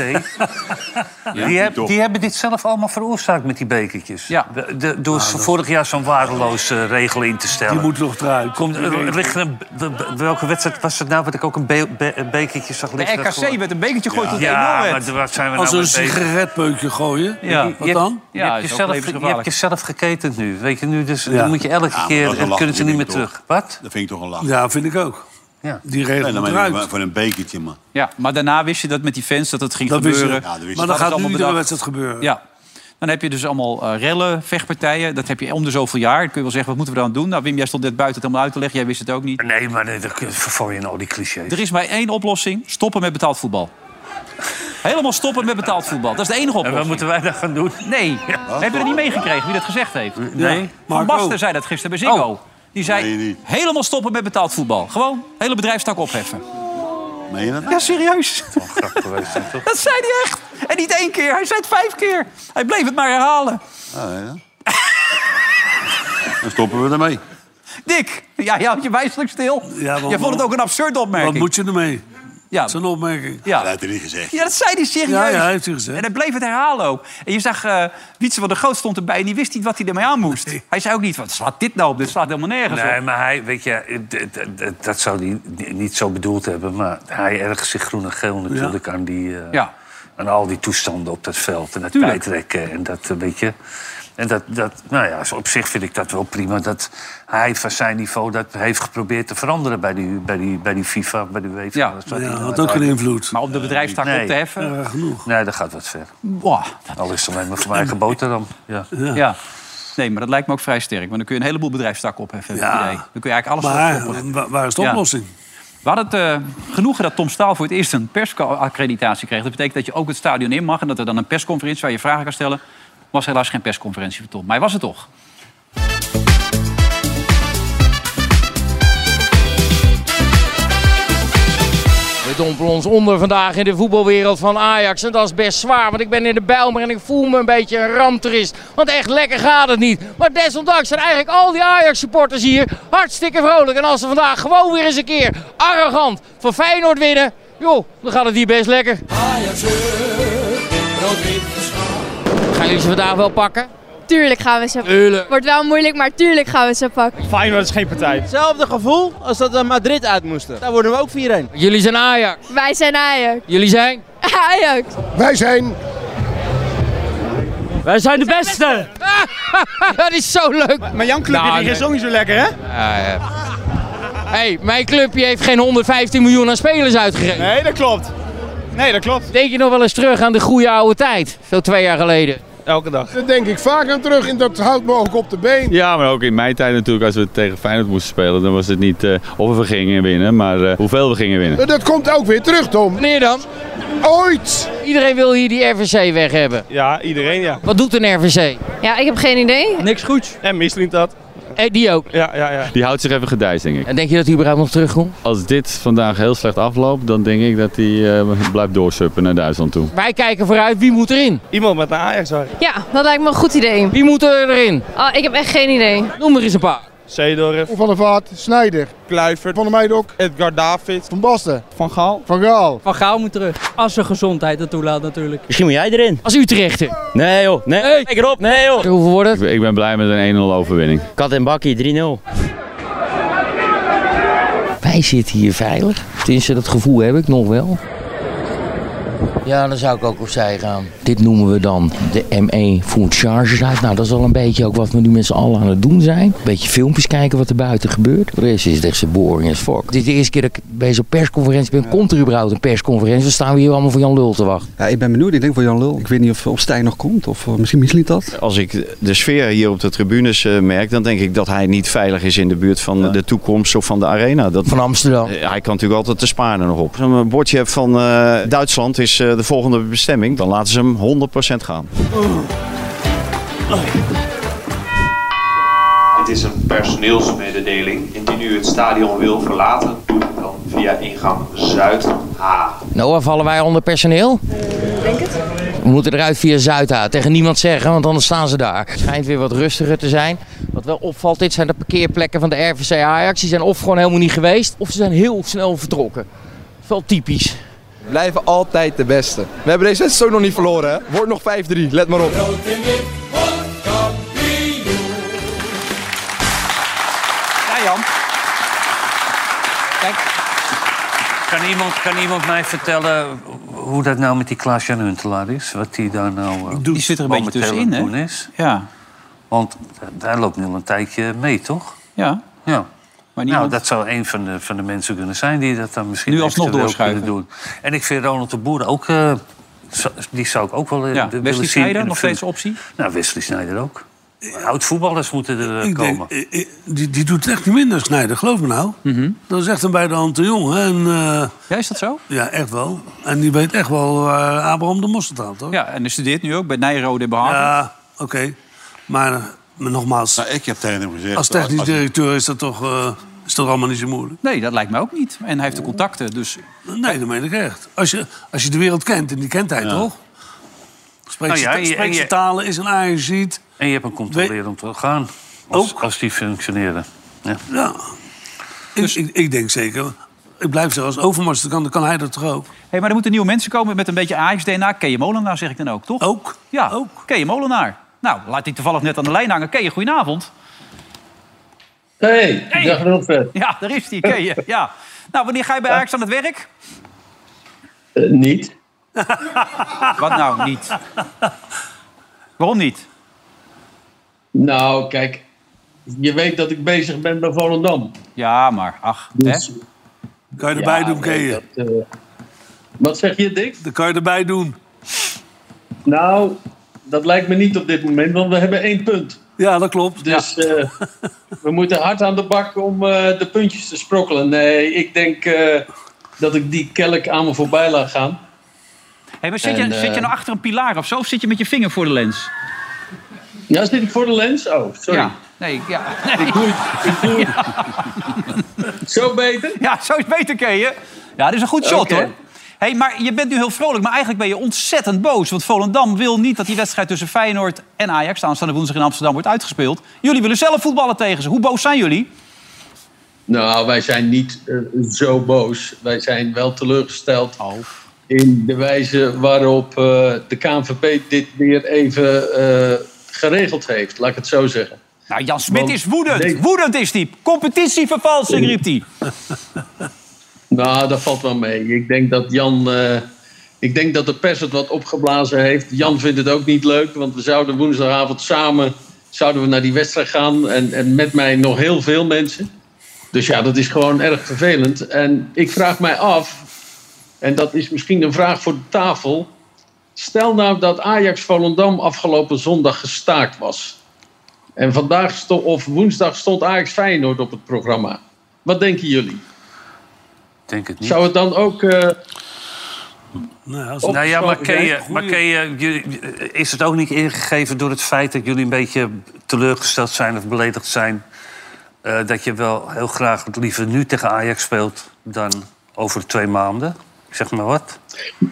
[SPEAKER 5] die, heb- die hebben dit zelf allemaal veroorzaakt met die bekertjes.
[SPEAKER 3] Ja.
[SPEAKER 5] De- de- door zo- vorig jaar zo'n waardeloos eh, regel in te stellen.
[SPEAKER 4] Die moet nog eruit.
[SPEAKER 5] Komt, er ligt er een, be- be- welke wedstrijd was het nou? Wat ik ook een be- be- een bekertje zag
[SPEAKER 3] De
[SPEAKER 5] liggen.
[SPEAKER 3] RKC werd een bekertje gegooid tot 1-0
[SPEAKER 5] Ja,
[SPEAKER 3] werd.
[SPEAKER 5] maar wat zijn we
[SPEAKER 4] Als
[SPEAKER 5] nou
[SPEAKER 4] een
[SPEAKER 5] mee bezig?
[SPEAKER 4] sigaretbeukje gooien.
[SPEAKER 3] Ja.
[SPEAKER 4] Wat dan?
[SPEAKER 5] Je,
[SPEAKER 3] Ja, is
[SPEAKER 5] hebt
[SPEAKER 3] ook
[SPEAKER 5] jezelf, je
[SPEAKER 3] levensgevaarlijk.
[SPEAKER 5] hebt jezelf geketend nu. Weet je, nu dus,
[SPEAKER 4] Ja.
[SPEAKER 5] dan moet je elke
[SPEAKER 2] Ja, maar dat
[SPEAKER 5] keer...
[SPEAKER 2] is een
[SPEAKER 5] Dan kunnen ze niet meer
[SPEAKER 2] lachje, denk
[SPEAKER 5] terug. Wat?
[SPEAKER 2] Dat vind ik toch een lach.
[SPEAKER 4] Ja, vind ik ook.
[SPEAKER 5] Ja.
[SPEAKER 4] Die
[SPEAKER 2] Nee,
[SPEAKER 4] regel
[SPEAKER 2] dan
[SPEAKER 4] moet
[SPEAKER 2] ben
[SPEAKER 4] eruit.
[SPEAKER 2] je voor een bekertje, man.
[SPEAKER 3] Ja, maar daarna wist je dat met die fans dat het ging
[SPEAKER 4] Dat wist je.
[SPEAKER 3] gebeuren.
[SPEAKER 2] Ja, dat wist
[SPEAKER 4] Maar
[SPEAKER 2] je.
[SPEAKER 3] Dat
[SPEAKER 4] dat
[SPEAKER 3] is
[SPEAKER 4] gaat nu
[SPEAKER 3] allemaal
[SPEAKER 4] iedere
[SPEAKER 3] bedacht.
[SPEAKER 4] wedstrijd gebeuren.
[SPEAKER 3] Ja. Dan heb je dus allemaal eh, rellen, vechtpartijen. Dat heb je om de zoveel jaar. Dan kun je wel zeggen, wat moeten we dan doen? Nou, Wim, jij stond net buiten het helemaal uit te leggen. Jij wist het ook niet.
[SPEAKER 5] Nee, maar nee, dan kun- verval je nou die clichés.
[SPEAKER 3] Er is maar één oplossing. Stoppen met betaald voetbal. Helemaal stoppen met betaald voetbal. Dat is de enige
[SPEAKER 5] En wat
[SPEAKER 3] oplossing.
[SPEAKER 5] moeten wij dan gaan doen?
[SPEAKER 3] Nee, heb je er niet meegekregen wie dat gezegd heeft?
[SPEAKER 4] Nee. Oh.
[SPEAKER 3] Van
[SPEAKER 4] Marco.
[SPEAKER 3] Basten zei dat gisteren bij Ziggo. Die
[SPEAKER 2] Nee,
[SPEAKER 3] zei,
[SPEAKER 2] niet.
[SPEAKER 3] helemaal stoppen met betaald voetbal. Gewoon, hele bedrijfstak opheffen.
[SPEAKER 2] Meen je dat?
[SPEAKER 3] Ja, serieus.
[SPEAKER 5] Grap geweest, hè, toch?
[SPEAKER 3] Dat zei hij echt. En niet één keer, hij zei het vijf keer. Hij bleef het maar herhalen.
[SPEAKER 2] Ah, ja. Dan stoppen we ermee.
[SPEAKER 3] Dick, ja, je houdt je wijselijk stil.
[SPEAKER 4] Ja, want-
[SPEAKER 3] Jij vond het ook een absurde opmerking.
[SPEAKER 4] Wat moet je ermee?
[SPEAKER 3] Ja.
[SPEAKER 4] Dat is een opmerking.
[SPEAKER 3] Ja.
[SPEAKER 2] Dat heeft hij niet gezegd.
[SPEAKER 3] Ja, dat zei hij serieus.
[SPEAKER 4] Ja, ja, heeft hij gezegd.
[SPEAKER 3] En hij bleef het herhalen ook. En je zag, eh Wietse van der Groot stond erbij... en die wist niet wat hij ermee aan moest. Hij zei ook niet, wat slaat dit nou op? Dit slaat helemaal nergens
[SPEAKER 5] Nee,
[SPEAKER 3] op.
[SPEAKER 5] maar hij, weet je, eh, d- d- d- dat zou hij ni- niet zo bedoeld hebben. Maar hij ergert zich groen en geel natuurlijk aan, die, eh,
[SPEAKER 3] Ja.
[SPEAKER 5] aan al die toestanden op dat veld. En het
[SPEAKER 3] Tuurlijk.
[SPEAKER 5] tijdrekken en dat, eh, weet je. En dat, dat, nou ja, op zich vind ik dat wel prima. Dat hij van zijn niveau dat heeft geprobeerd te veranderen bij die, bij die, bij die FIFA, bij de UEFA.
[SPEAKER 3] Ja.
[SPEAKER 5] Dat is wat
[SPEAKER 4] Ja,
[SPEAKER 5] hij
[SPEAKER 4] had ook
[SPEAKER 5] nou-
[SPEAKER 4] geen invloed.
[SPEAKER 3] Maar om de bedrijfstak
[SPEAKER 5] Nee.
[SPEAKER 3] op te heffen...
[SPEAKER 4] Ja, genoeg.
[SPEAKER 5] Nee, dat gaat wat ver.
[SPEAKER 3] boah, dat-
[SPEAKER 5] Al is het alleen maar voor mijn eigen boterham. Ja.
[SPEAKER 3] ja. Nee, maar dat lijkt me ook vrij sterk. Want dan kun je een heleboel bedrijfstakken opheffen. heb ik
[SPEAKER 4] Ja.
[SPEAKER 3] het idee. Dan kun je eigenlijk alles
[SPEAKER 4] Maar
[SPEAKER 3] opheffen.
[SPEAKER 4] eh, wa- waar is de
[SPEAKER 3] Ja.
[SPEAKER 4] oplossing?
[SPEAKER 3] We hadden het eh, genoegen dat Tom Staal voor het eerst een persaccreditatie kreeg. Dat betekent dat je ook het stadion in mag en dat er dan een persconferentie waar je vragen kan stellen. Was helaas geen persconferentie voor Tom, maar hij was het toch.
[SPEAKER 10] We dompelen ons onder vandaag in de voetbalwereld van Ajax. En dat is best zwaar, want ik ben in de Bijlmer en ik voel me een beetje een ramptoerist. Want echt lekker gaat het niet. Maar desondanks zijn eigenlijk al die Ajax-supporters hier hartstikke vrolijk. En als ze vandaag gewoon weer eens een keer arrogant van Feyenoord winnen... joh, dan gaat het hier best lekker. Gaan jullie ze vandaag wel pakken?
[SPEAKER 6] Tuurlijk gaan we ze
[SPEAKER 10] Tuurlijk.
[SPEAKER 6] Wordt wel moeilijk, maar tuurlijk gaan we ze pakken.
[SPEAKER 12] Feyenoord is geen partij. Hetzelfde gevoel als dat we Madrid uit moesten. Daar worden we ook 4-1.
[SPEAKER 10] Jullie zijn Ajax.
[SPEAKER 6] Wij zijn Ajax.
[SPEAKER 10] Jullie zijn?
[SPEAKER 6] Ajax.
[SPEAKER 10] Wij zijn... Wij zijn de beste! dat is zo leuk!
[SPEAKER 12] Maar Jan Clubje
[SPEAKER 10] Nou,
[SPEAKER 12] die
[SPEAKER 10] nee.
[SPEAKER 12] is ook niet zo lekker, hè?
[SPEAKER 10] Ja, ja. hey, mijn clubje heeft geen 115 miljoen aan spelers uitgegeven.
[SPEAKER 12] Nee, dat klopt. Nee, dat klopt.
[SPEAKER 10] Denk je nog wel eens terug aan de goede oude tijd, zo twee jaar geleden?
[SPEAKER 12] Elke dag.
[SPEAKER 1] Daar denk ik vaak aan terug en dat houdt me ook op de been.
[SPEAKER 13] Ja, maar ook in mijn tijd natuurlijk, als we tegen Feyenoord moesten spelen, dan was het niet eh, of we gingen winnen, maar eh, hoeveel we gingen winnen.
[SPEAKER 1] Dat komt ook weer terug, Tom.
[SPEAKER 10] Wanneer dan?
[SPEAKER 1] Ooit!
[SPEAKER 10] Iedereen wil hier die RVC weg hebben.
[SPEAKER 12] Ja, iedereen ja.
[SPEAKER 10] Wat doet een RVC?
[SPEAKER 6] Ja, ik heb geen idee.
[SPEAKER 12] Niks goeds. En Misselink dat.
[SPEAKER 10] Eh, die ook.
[SPEAKER 12] Ja, ja, ja.
[SPEAKER 13] Die houdt zich even gedijs, denk ik.
[SPEAKER 10] En denk je dat hij überhaupt nog terugkomt?
[SPEAKER 13] Als dit vandaag heel slecht afloopt, dan denk ik dat hij eh, blijft doorsuppen naar Duitsland toe.
[SPEAKER 10] Wij kijken vooruit, wie moet erin?
[SPEAKER 12] Iemand met een Ajax hoor.
[SPEAKER 6] Ja, dat lijkt me een goed idee.
[SPEAKER 10] Wie moet er erin?
[SPEAKER 6] Oh, ik heb echt geen idee.
[SPEAKER 10] Noem er eens een paar.
[SPEAKER 12] Zeedorf.
[SPEAKER 1] Van der Vaart, Snijder,
[SPEAKER 12] Kluivert.
[SPEAKER 1] Van der Meidok,
[SPEAKER 12] Edgar David.
[SPEAKER 1] Van Basten,
[SPEAKER 12] Van Gaal.
[SPEAKER 1] Van Gaal.
[SPEAKER 14] Van Gaal moet terug. Als zijn gezondheid het toelaat natuurlijk.
[SPEAKER 12] Misschien moet jij erin.
[SPEAKER 10] Als Utrechter.
[SPEAKER 12] Nee joh. Nee. Kijk erop. Nee joh.
[SPEAKER 10] Hoeveel wordt het?
[SPEAKER 13] Ik, ik ben blij met een 1-0 overwinning.
[SPEAKER 12] Kat en bakkie 3-0.
[SPEAKER 10] Wij zitten hier veilig. Tenminste, dat gevoel heb ik nog wel. Ja, dan zou ik ook opzij gaan. Dit noemen we dan de ME Food Charges uit. Nou, dat is al een beetje ook wat we nu met z'n allen aan het doen zijn. Een beetje filmpjes kijken wat er buiten gebeurt. Voor De rest is het echt zo boring as fuck. Dit is de eerste keer dat ik bij zo'n persconferentie ben. Komt er überhaupt een persconferentie? Dan staan we hier allemaal voor Jan Lul te wachten.
[SPEAKER 15] Ja, ik ben benieuwd. Ik denk voor Jan Lul. Ik weet niet of, of Stijn nog komt. Of eh, misschien misliet dat.
[SPEAKER 13] Als ik de sfeer hier op de tribunes eh, merk, dan denk ik dat hij niet veilig is in de buurt van eh, de toekomst of van de arena. Dat,
[SPEAKER 10] van Amsterdam.
[SPEAKER 13] hij kan natuurlijk altijd de Spaarden nog op. Als je een bordje hebt van eh, Duitsland is eh, de volgende bestemming, dan laten ze hem 100% gaan.
[SPEAKER 7] Dit is een personeelsmededeling. Indien u het stadion wil verlaten, doe het dan via ingang Zuid-H.
[SPEAKER 10] Noah, vallen wij onder personeel?
[SPEAKER 16] Denk het?
[SPEAKER 10] We moeten eruit via Zuidhaat. Tegen niemand zeggen, want anders staan ze daar. Het schijnt weer wat rustiger te zijn. Wat wel opvalt, dit zijn de parkeerplekken van de RVC Ajax. Die zijn of gewoon helemaal niet geweest, of ze zijn heel snel vertrokken. Wel typisch.
[SPEAKER 17] We blijven altijd de beste. We hebben deze wedstrijd ook nog niet verloren, hè? Wordt nog 5-3, let maar op.
[SPEAKER 3] Ja, Jan. Kijk,
[SPEAKER 5] Kan iemand, kan iemand mij vertellen hoe dat nou met die Klaas-Jan Huntelaar is? Wat die daar nou eh,
[SPEAKER 3] die zit er een beetje
[SPEAKER 5] momenteel
[SPEAKER 3] tussenin,
[SPEAKER 5] aan
[SPEAKER 3] hè?
[SPEAKER 5] het doen is?
[SPEAKER 3] Ja,
[SPEAKER 5] Want eh, daar loopt nu al een tijdje mee, toch?
[SPEAKER 3] ja.
[SPEAKER 5] Ja.
[SPEAKER 3] Maar niemand-
[SPEAKER 5] Nou, dat zou een van de, van de mensen kunnen zijn die dat dan misschien
[SPEAKER 3] Nu alsnog
[SPEAKER 5] eventueel
[SPEAKER 3] doorschuiven.
[SPEAKER 5] kunnen doen. En ik vind Ronald de Boer ook... eh, zo- die zou ik ook wel eh,
[SPEAKER 3] ja.
[SPEAKER 5] willen
[SPEAKER 3] Wesley
[SPEAKER 5] zien in
[SPEAKER 3] Sneijder,
[SPEAKER 5] de
[SPEAKER 3] nog
[SPEAKER 5] film.
[SPEAKER 3] steeds een optie.
[SPEAKER 5] Nou, Wesley Sneijder ook. Oud-voetballers moeten er eh,
[SPEAKER 4] Ik denk,
[SPEAKER 5] komen.
[SPEAKER 4] eh, eh, die, die doet het echt niet minder, Snijder, geloof me nou.
[SPEAKER 3] Mhm.
[SPEAKER 4] Dat is echt een bij de hand te jong. Hè? En, eh,
[SPEAKER 3] ja, is dat zo?
[SPEAKER 4] Ja, echt wel. En die weet echt wel waar Abraham de mosterd haalt, hoor.
[SPEAKER 3] Ja, en hij studeert nu ook bij Nijrode in Behagen.
[SPEAKER 4] Ja, oké. Maar, eh, maar nogmaals,
[SPEAKER 2] Ik heb tegen hem gezegd...
[SPEAKER 4] als technisch
[SPEAKER 2] als-
[SPEAKER 4] directeur is dat toch, eh, is toch allemaal niet zo moeilijk?
[SPEAKER 3] Nee, dat lijkt mij ook niet. En hij heeft de contacten, dus...
[SPEAKER 4] Nee, dat meen ik echt. Als je, als je de wereld kent, en die kent hij toch? Spreekt
[SPEAKER 5] Nou ja,
[SPEAKER 4] ze-
[SPEAKER 5] en je-
[SPEAKER 4] spreekt
[SPEAKER 5] en
[SPEAKER 4] ze
[SPEAKER 5] je-
[SPEAKER 4] talen, is een Ajax ziet.
[SPEAKER 5] En je hebt een controlerend orgaan. Als, als die functioneren.
[SPEAKER 4] Ja. Ik,
[SPEAKER 3] Dus-
[SPEAKER 4] ik, ik denk zeker. Ik blijf zeggen, als Overmars dat kan, dan kan hij dat toch ook.
[SPEAKER 3] Hey, maar er moeten nieuwe mensen komen met een beetje Ajax-DNA. Keje Molenaar zeg ik dan ook, toch?
[SPEAKER 4] Ook.
[SPEAKER 3] Ja, ook. Keje Molenaar. Nou, laat die toevallig net aan de lijn hangen. Keje, goedenavond.
[SPEAKER 10] Hey, dag Robert.
[SPEAKER 3] Ja, daar is die, Keje. Ja. Nou, wanneer ga je bij Ajax aan het werk?
[SPEAKER 10] Eh, niet.
[SPEAKER 3] Wat nou, niet? Waarom niet?
[SPEAKER 10] Nou, kijk. Je weet dat ik bezig ben bij Volendam.
[SPEAKER 3] Ja, maar ach.
[SPEAKER 10] Dus,
[SPEAKER 4] Kan je erbij doen, Kees?
[SPEAKER 10] dat, eh, Wat zeg je, Dick?
[SPEAKER 4] Dat kan je erbij doen.
[SPEAKER 10] Nou, dat lijkt me niet op dit moment, want we hebben één punt.
[SPEAKER 4] Ja, dat klopt.
[SPEAKER 10] Dus eh, we moeten hard aan de bak om eh, de puntjes te sprokkelen. Nee, ik denk eh, dat ik die kelk aan me voorbij laat gaan.
[SPEAKER 3] Hey, maar zit, je,
[SPEAKER 10] En, eh,
[SPEAKER 3] zit je nou achter een pilaar of zo? Of zit je met je vinger voor de lens?
[SPEAKER 10] Ja, zit ik voor de lens? Oh, sorry.
[SPEAKER 3] Ja. Nee, ja.
[SPEAKER 10] Ik doe het. Ik doe het. Zo beter?
[SPEAKER 3] Ja, zo is beter, Keje. Ja, dit is een goed shot,
[SPEAKER 10] Oké.
[SPEAKER 3] hoor. Hey, maar je bent nu heel vrolijk, maar eigenlijk ben je ontzettend boos. Want Volendam wil niet dat die wedstrijd tussen Feyenoord en Ajax... aanstaande woensdag in Amsterdam wordt uitgespeeld. Jullie willen zelf voetballen tegen ze. Hoe boos zijn jullie?
[SPEAKER 10] Nou, wij zijn niet eh, zo boos. Wij zijn wel teleurgesteld in de wijze waarop eh, de KNVB dit weer even eh, geregeld heeft. Laat ik het zo zeggen.
[SPEAKER 3] Nou, Jan Smit is woedend. Woedend is die. Competitievervalsing, riep hij.
[SPEAKER 10] Nou, dat valt wel mee. Ik denk dat Jan. eh, ik denk dat de pers het wat opgeblazen heeft. Jan vindt het ook niet leuk, want we zouden woensdagavond samen zouden we naar die wedstrijd gaan. En, en met mij nog heel veel mensen. Dus ja, dat is gewoon erg vervelend. En ik vraag mij af, en dat is misschien een vraag voor de tafel. Stel nou dat Ajax Volendam afgelopen zondag gestaakt was. En vandaag sto- of woensdag stond Ajax Feyenoord op het programma. Wat denken jullie?
[SPEAKER 5] denk het niet.
[SPEAKER 10] Zou het dan ook. eh,
[SPEAKER 5] nou ja, maar,
[SPEAKER 10] opgesloten
[SPEAKER 5] ken je,
[SPEAKER 10] zijn?
[SPEAKER 5] maar ken je, jullie- is het ook niet ingegeven door het feit dat jullie een beetje teleurgesteld zijn of beledigd zijn? eh, dat je wel heel graag het liever nu tegen Ajax speelt dan over twee maanden? Ik zeg maar wat.
[SPEAKER 10] Nou,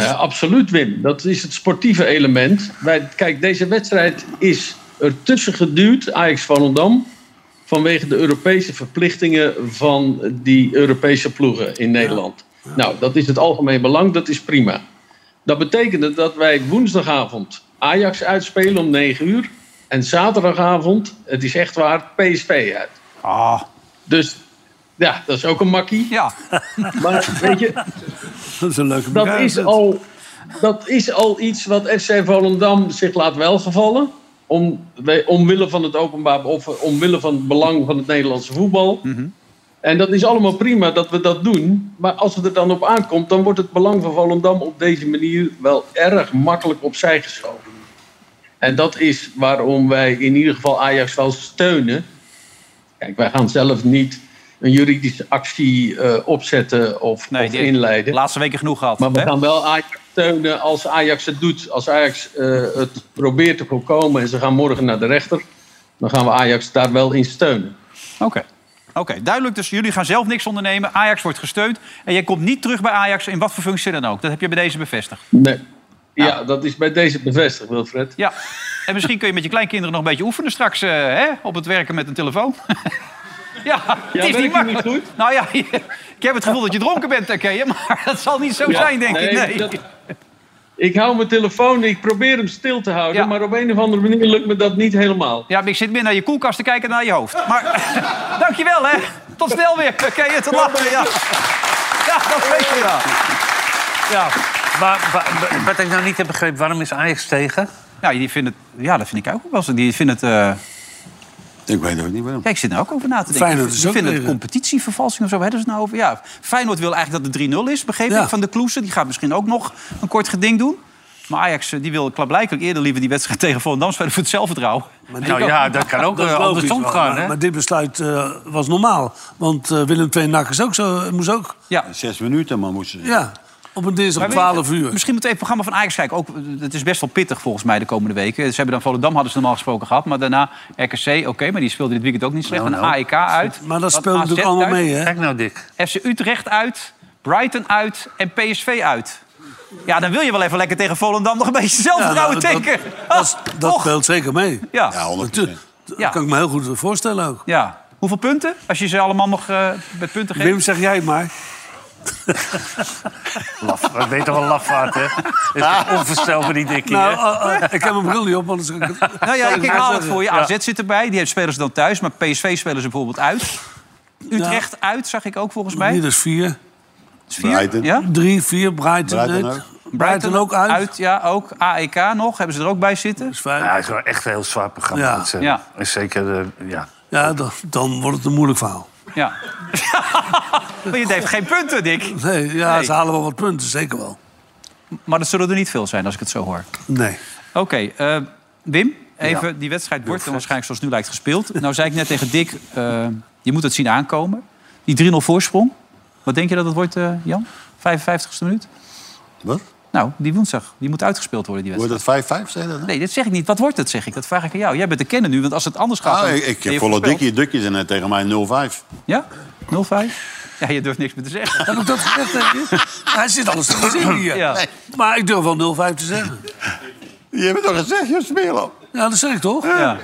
[SPEAKER 10] ja, absoluut, Wim. Dat is het sportieve element. Wij, kijk, deze wedstrijd is ertussen geduwd, Ajax Volendam, vanwege de Europese verplichtingen van die Europese ploegen in Nederland. Nou, dat is het algemeen belang, dat is prima. Dat betekende dat wij woensdagavond Ajax uitspelen om 9 uur. En zaterdagavond, het is echt waar, PSP uit.
[SPEAKER 3] Ah.
[SPEAKER 10] Dus ja, dat is ook een makkie.
[SPEAKER 3] Ja.
[SPEAKER 10] Maar weet je,
[SPEAKER 4] Dat is een leuke
[SPEAKER 10] dat
[SPEAKER 4] bekend.
[SPEAKER 10] is, al, dat is al iets wat FC Volendam zich laat welgevallen. Om, we- omwille van het openbaar of eh, omwille van het belang van het Nederlandse voetbal. En dat is allemaal prima dat we dat doen. Maar als het er dan op aankomt, dan wordt het belang van Volendam op deze manier wel erg makkelijk opzij geschoven. En dat is waarom wij in ieder geval Ajax wel steunen. Kijk, wij gaan zelf niet een juridische actie eh, opzetten of, of
[SPEAKER 3] die-
[SPEAKER 10] inleiden.
[SPEAKER 3] Laatste weken genoeg gehad.
[SPEAKER 10] Maar we
[SPEAKER 3] hè?
[SPEAKER 10] gaan wel Ajax steunen als Ajax het doet. Als Ajax eh, het probeert te voorkomen en ze gaan morgen naar de rechter, dan gaan we Ajax daar wel in steunen.
[SPEAKER 3] Oké. Oké, duidelijk. Dus jullie gaan zelf niks ondernemen. Ajax wordt gesteund. En jij komt niet terug bij Ajax in wat voor functie dan ook. Dat heb je bij deze bevestigd.
[SPEAKER 10] Nee. Ja, dat is bij deze bevestigd, Wilfred.
[SPEAKER 3] Ja. En misschien kun je met je kleinkinderen nog een beetje oefenen straks eh, hè? op het werken met een telefoon. ja, het is
[SPEAKER 10] werkt
[SPEAKER 3] niet
[SPEAKER 10] die
[SPEAKER 3] makkelijk. Nou ja, ik heb het gevoel dat je dronken bent, oké, hè, maar dat zal niet zo
[SPEAKER 10] Ja,
[SPEAKER 3] zijn, denk ik.
[SPEAKER 10] nee,
[SPEAKER 3] Nee.
[SPEAKER 10] dat- Ik hou mijn telefoon, ik probeer hem stil te houden, maar op een of andere manier lukt me dat niet helemaal.
[SPEAKER 3] Ja, maar ik zit meer naar je koelkast te kijken dan naar je hoofd. Maar dankjewel, hè. Tot snel weer. eh, Oké, tot later. Ja. ja, dat weet je wel. Ja.
[SPEAKER 5] Maar, wa- wa- wat ik nou niet heb begrepen, waarom is Ajax tegen?
[SPEAKER 3] Ja, die vindt Nou, het, ja, dat vind ik ook wel zo. Die vindt het... eh,
[SPEAKER 2] Ik weet het niet waarom.
[SPEAKER 3] Ja, ik zit er ook over na te denken.
[SPEAKER 2] Feyenoord is
[SPEAKER 3] Ze
[SPEAKER 2] ook
[SPEAKER 3] vinden het
[SPEAKER 2] tegen.
[SPEAKER 3] competitievervalsing of zo. Hebben ze het nou over? Ja, Feyenoord wil eigenlijk dat het 3-0 is, begreep ik, van de Kloesen. Die gaat misschien ook nog een kort geding doen. Maar Ajax eh, die wil klaarblijkelijk eerder liever die wedstrijd tegen Volendam spelen voor het zelfvertrouwen.
[SPEAKER 5] nou ja, dat kan ook
[SPEAKER 4] is
[SPEAKER 5] eh,
[SPEAKER 4] logisch
[SPEAKER 5] andersom
[SPEAKER 4] wel,
[SPEAKER 5] gaan,
[SPEAKER 4] Maar,
[SPEAKER 5] hè?
[SPEAKER 4] maar dit besluit eh, was normaal. Want eh, Willem II Nak is ook zo, moest ook.
[SPEAKER 3] Ja.
[SPEAKER 2] Zes minuten, maar moesten ze.
[SPEAKER 4] Ja, op een dinsdag
[SPEAKER 3] Maar
[SPEAKER 4] om
[SPEAKER 3] weet je,
[SPEAKER 4] 12 uur.
[SPEAKER 3] Misschien moet even het programma van Ajax kijken. Ook, eh, het is best wel pittig volgens mij de komende weken. Ze hebben dan Volendam hadden ze normaal gesproken gehad. Maar daarna RKC, oké, maar die speelde dit weekend ook niet slecht.
[SPEAKER 5] Nou,
[SPEAKER 3] en
[SPEAKER 5] nou.
[SPEAKER 3] AEK uit.
[SPEAKER 4] Maar dat
[SPEAKER 3] Dan
[SPEAKER 4] speelt
[SPEAKER 3] AZ
[SPEAKER 4] natuurlijk allemaal
[SPEAKER 3] uit,
[SPEAKER 4] mee, hè?
[SPEAKER 5] Kijk nou, Dick.
[SPEAKER 3] FC Utrecht uit, Brighton uit en PSV uit. Ja, dan wil je wel even lekker tegen Volendam nog een beetje zelfvertrouwen
[SPEAKER 4] Ja, nou,
[SPEAKER 3] tanken. Ah,
[SPEAKER 4] Dat, dat speelt zeker mee.
[SPEAKER 3] Ja.
[SPEAKER 4] Dat kan ik me heel goed voorstellen ook.
[SPEAKER 3] Ja. Hoeveel punten? Als je ze allemaal nog eh, met punten geeft.
[SPEAKER 4] Wim, zeg jij maar.
[SPEAKER 5] Laf, we weten wel lafaard, hè? Het is onvoorstelbaar, die dikkie,
[SPEAKER 4] Nou,
[SPEAKER 5] hè?
[SPEAKER 4] eh, eh, ik heb een bril niet op, anders...
[SPEAKER 3] Nou ja, ik, ik haal het voor je. AZ
[SPEAKER 4] Ja.
[SPEAKER 3] zit erbij. Die hebben spelers dan thuis. Maar PSV spelen ze bijvoorbeeld uit. Utrecht uit, zag ik ook volgens mij.
[SPEAKER 4] Nee, dat is vier.
[SPEAKER 3] vier? Brighton. Ja?
[SPEAKER 4] Drie, vier, Brighton,
[SPEAKER 3] Brighton
[SPEAKER 4] uit.
[SPEAKER 3] ook.
[SPEAKER 4] Brighton ook uit.
[SPEAKER 3] Ja, ook. AEK nog. Hebben ze er ook bij zitten.
[SPEAKER 5] Ja, het is wel echt een heel zwaar programma.
[SPEAKER 4] Ja.
[SPEAKER 5] moet ik zeggen.
[SPEAKER 3] Ja.
[SPEAKER 5] En zeker, eh, ja.
[SPEAKER 4] Ja, dan, dan wordt het een moeilijk verhaal.
[SPEAKER 3] ja. maar je heeft geen punten, Dick.
[SPEAKER 4] Nee, ja,
[SPEAKER 3] Nee.
[SPEAKER 4] ze halen wel wat punten, zeker wel.
[SPEAKER 3] Maar dat zullen er niet veel zijn, als ik het zo hoor.
[SPEAKER 4] Nee.
[SPEAKER 3] Oké, eh, Wim, even die wedstrijd wordt dan waarschijnlijk zoals het nu lijkt gespeeld. Nou zei ik net tegen Dick, eh, je moet het zien aankomen. Die 3-0 voorsprong. Wat denk je dat het wordt, eh, Jan? 55ste minuut?
[SPEAKER 2] Wat?
[SPEAKER 3] Nou, die woensdag. Die moet uitgespeeld worden, die
[SPEAKER 2] Wordt
[SPEAKER 3] wedstrijd.
[SPEAKER 2] het 5-5, zei je dat? nou?
[SPEAKER 3] Nee, dat zeg ik niet. Wat wordt het, zeg ik. Dat vraag ik aan jou. Jij bent de kenner nu, want als het anders gaat...
[SPEAKER 2] Ah,
[SPEAKER 3] dan
[SPEAKER 2] ik,
[SPEAKER 3] ben
[SPEAKER 2] ik
[SPEAKER 3] je
[SPEAKER 2] heb volle
[SPEAKER 3] voorspeld.
[SPEAKER 2] dikkie dukjes en hij tegen mij 0-5.
[SPEAKER 3] Ja? 0-5? Ja, je durft niks meer te zeggen.
[SPEAKER 4] Heb ik dat gezegd, denk je? Hij zit alles te verzinnen hier.
[SPEAKER 3] Ja.
[SPEAKER 4] Nee. Maar ik durf wel 0,5 te zeggen.
[SPEAKER 2] Je hebt het toch gezegd, je smeerlap?
[SPEAKER 4] Ja, dat zeg ik toch?
[SPEAKER 3] Ja.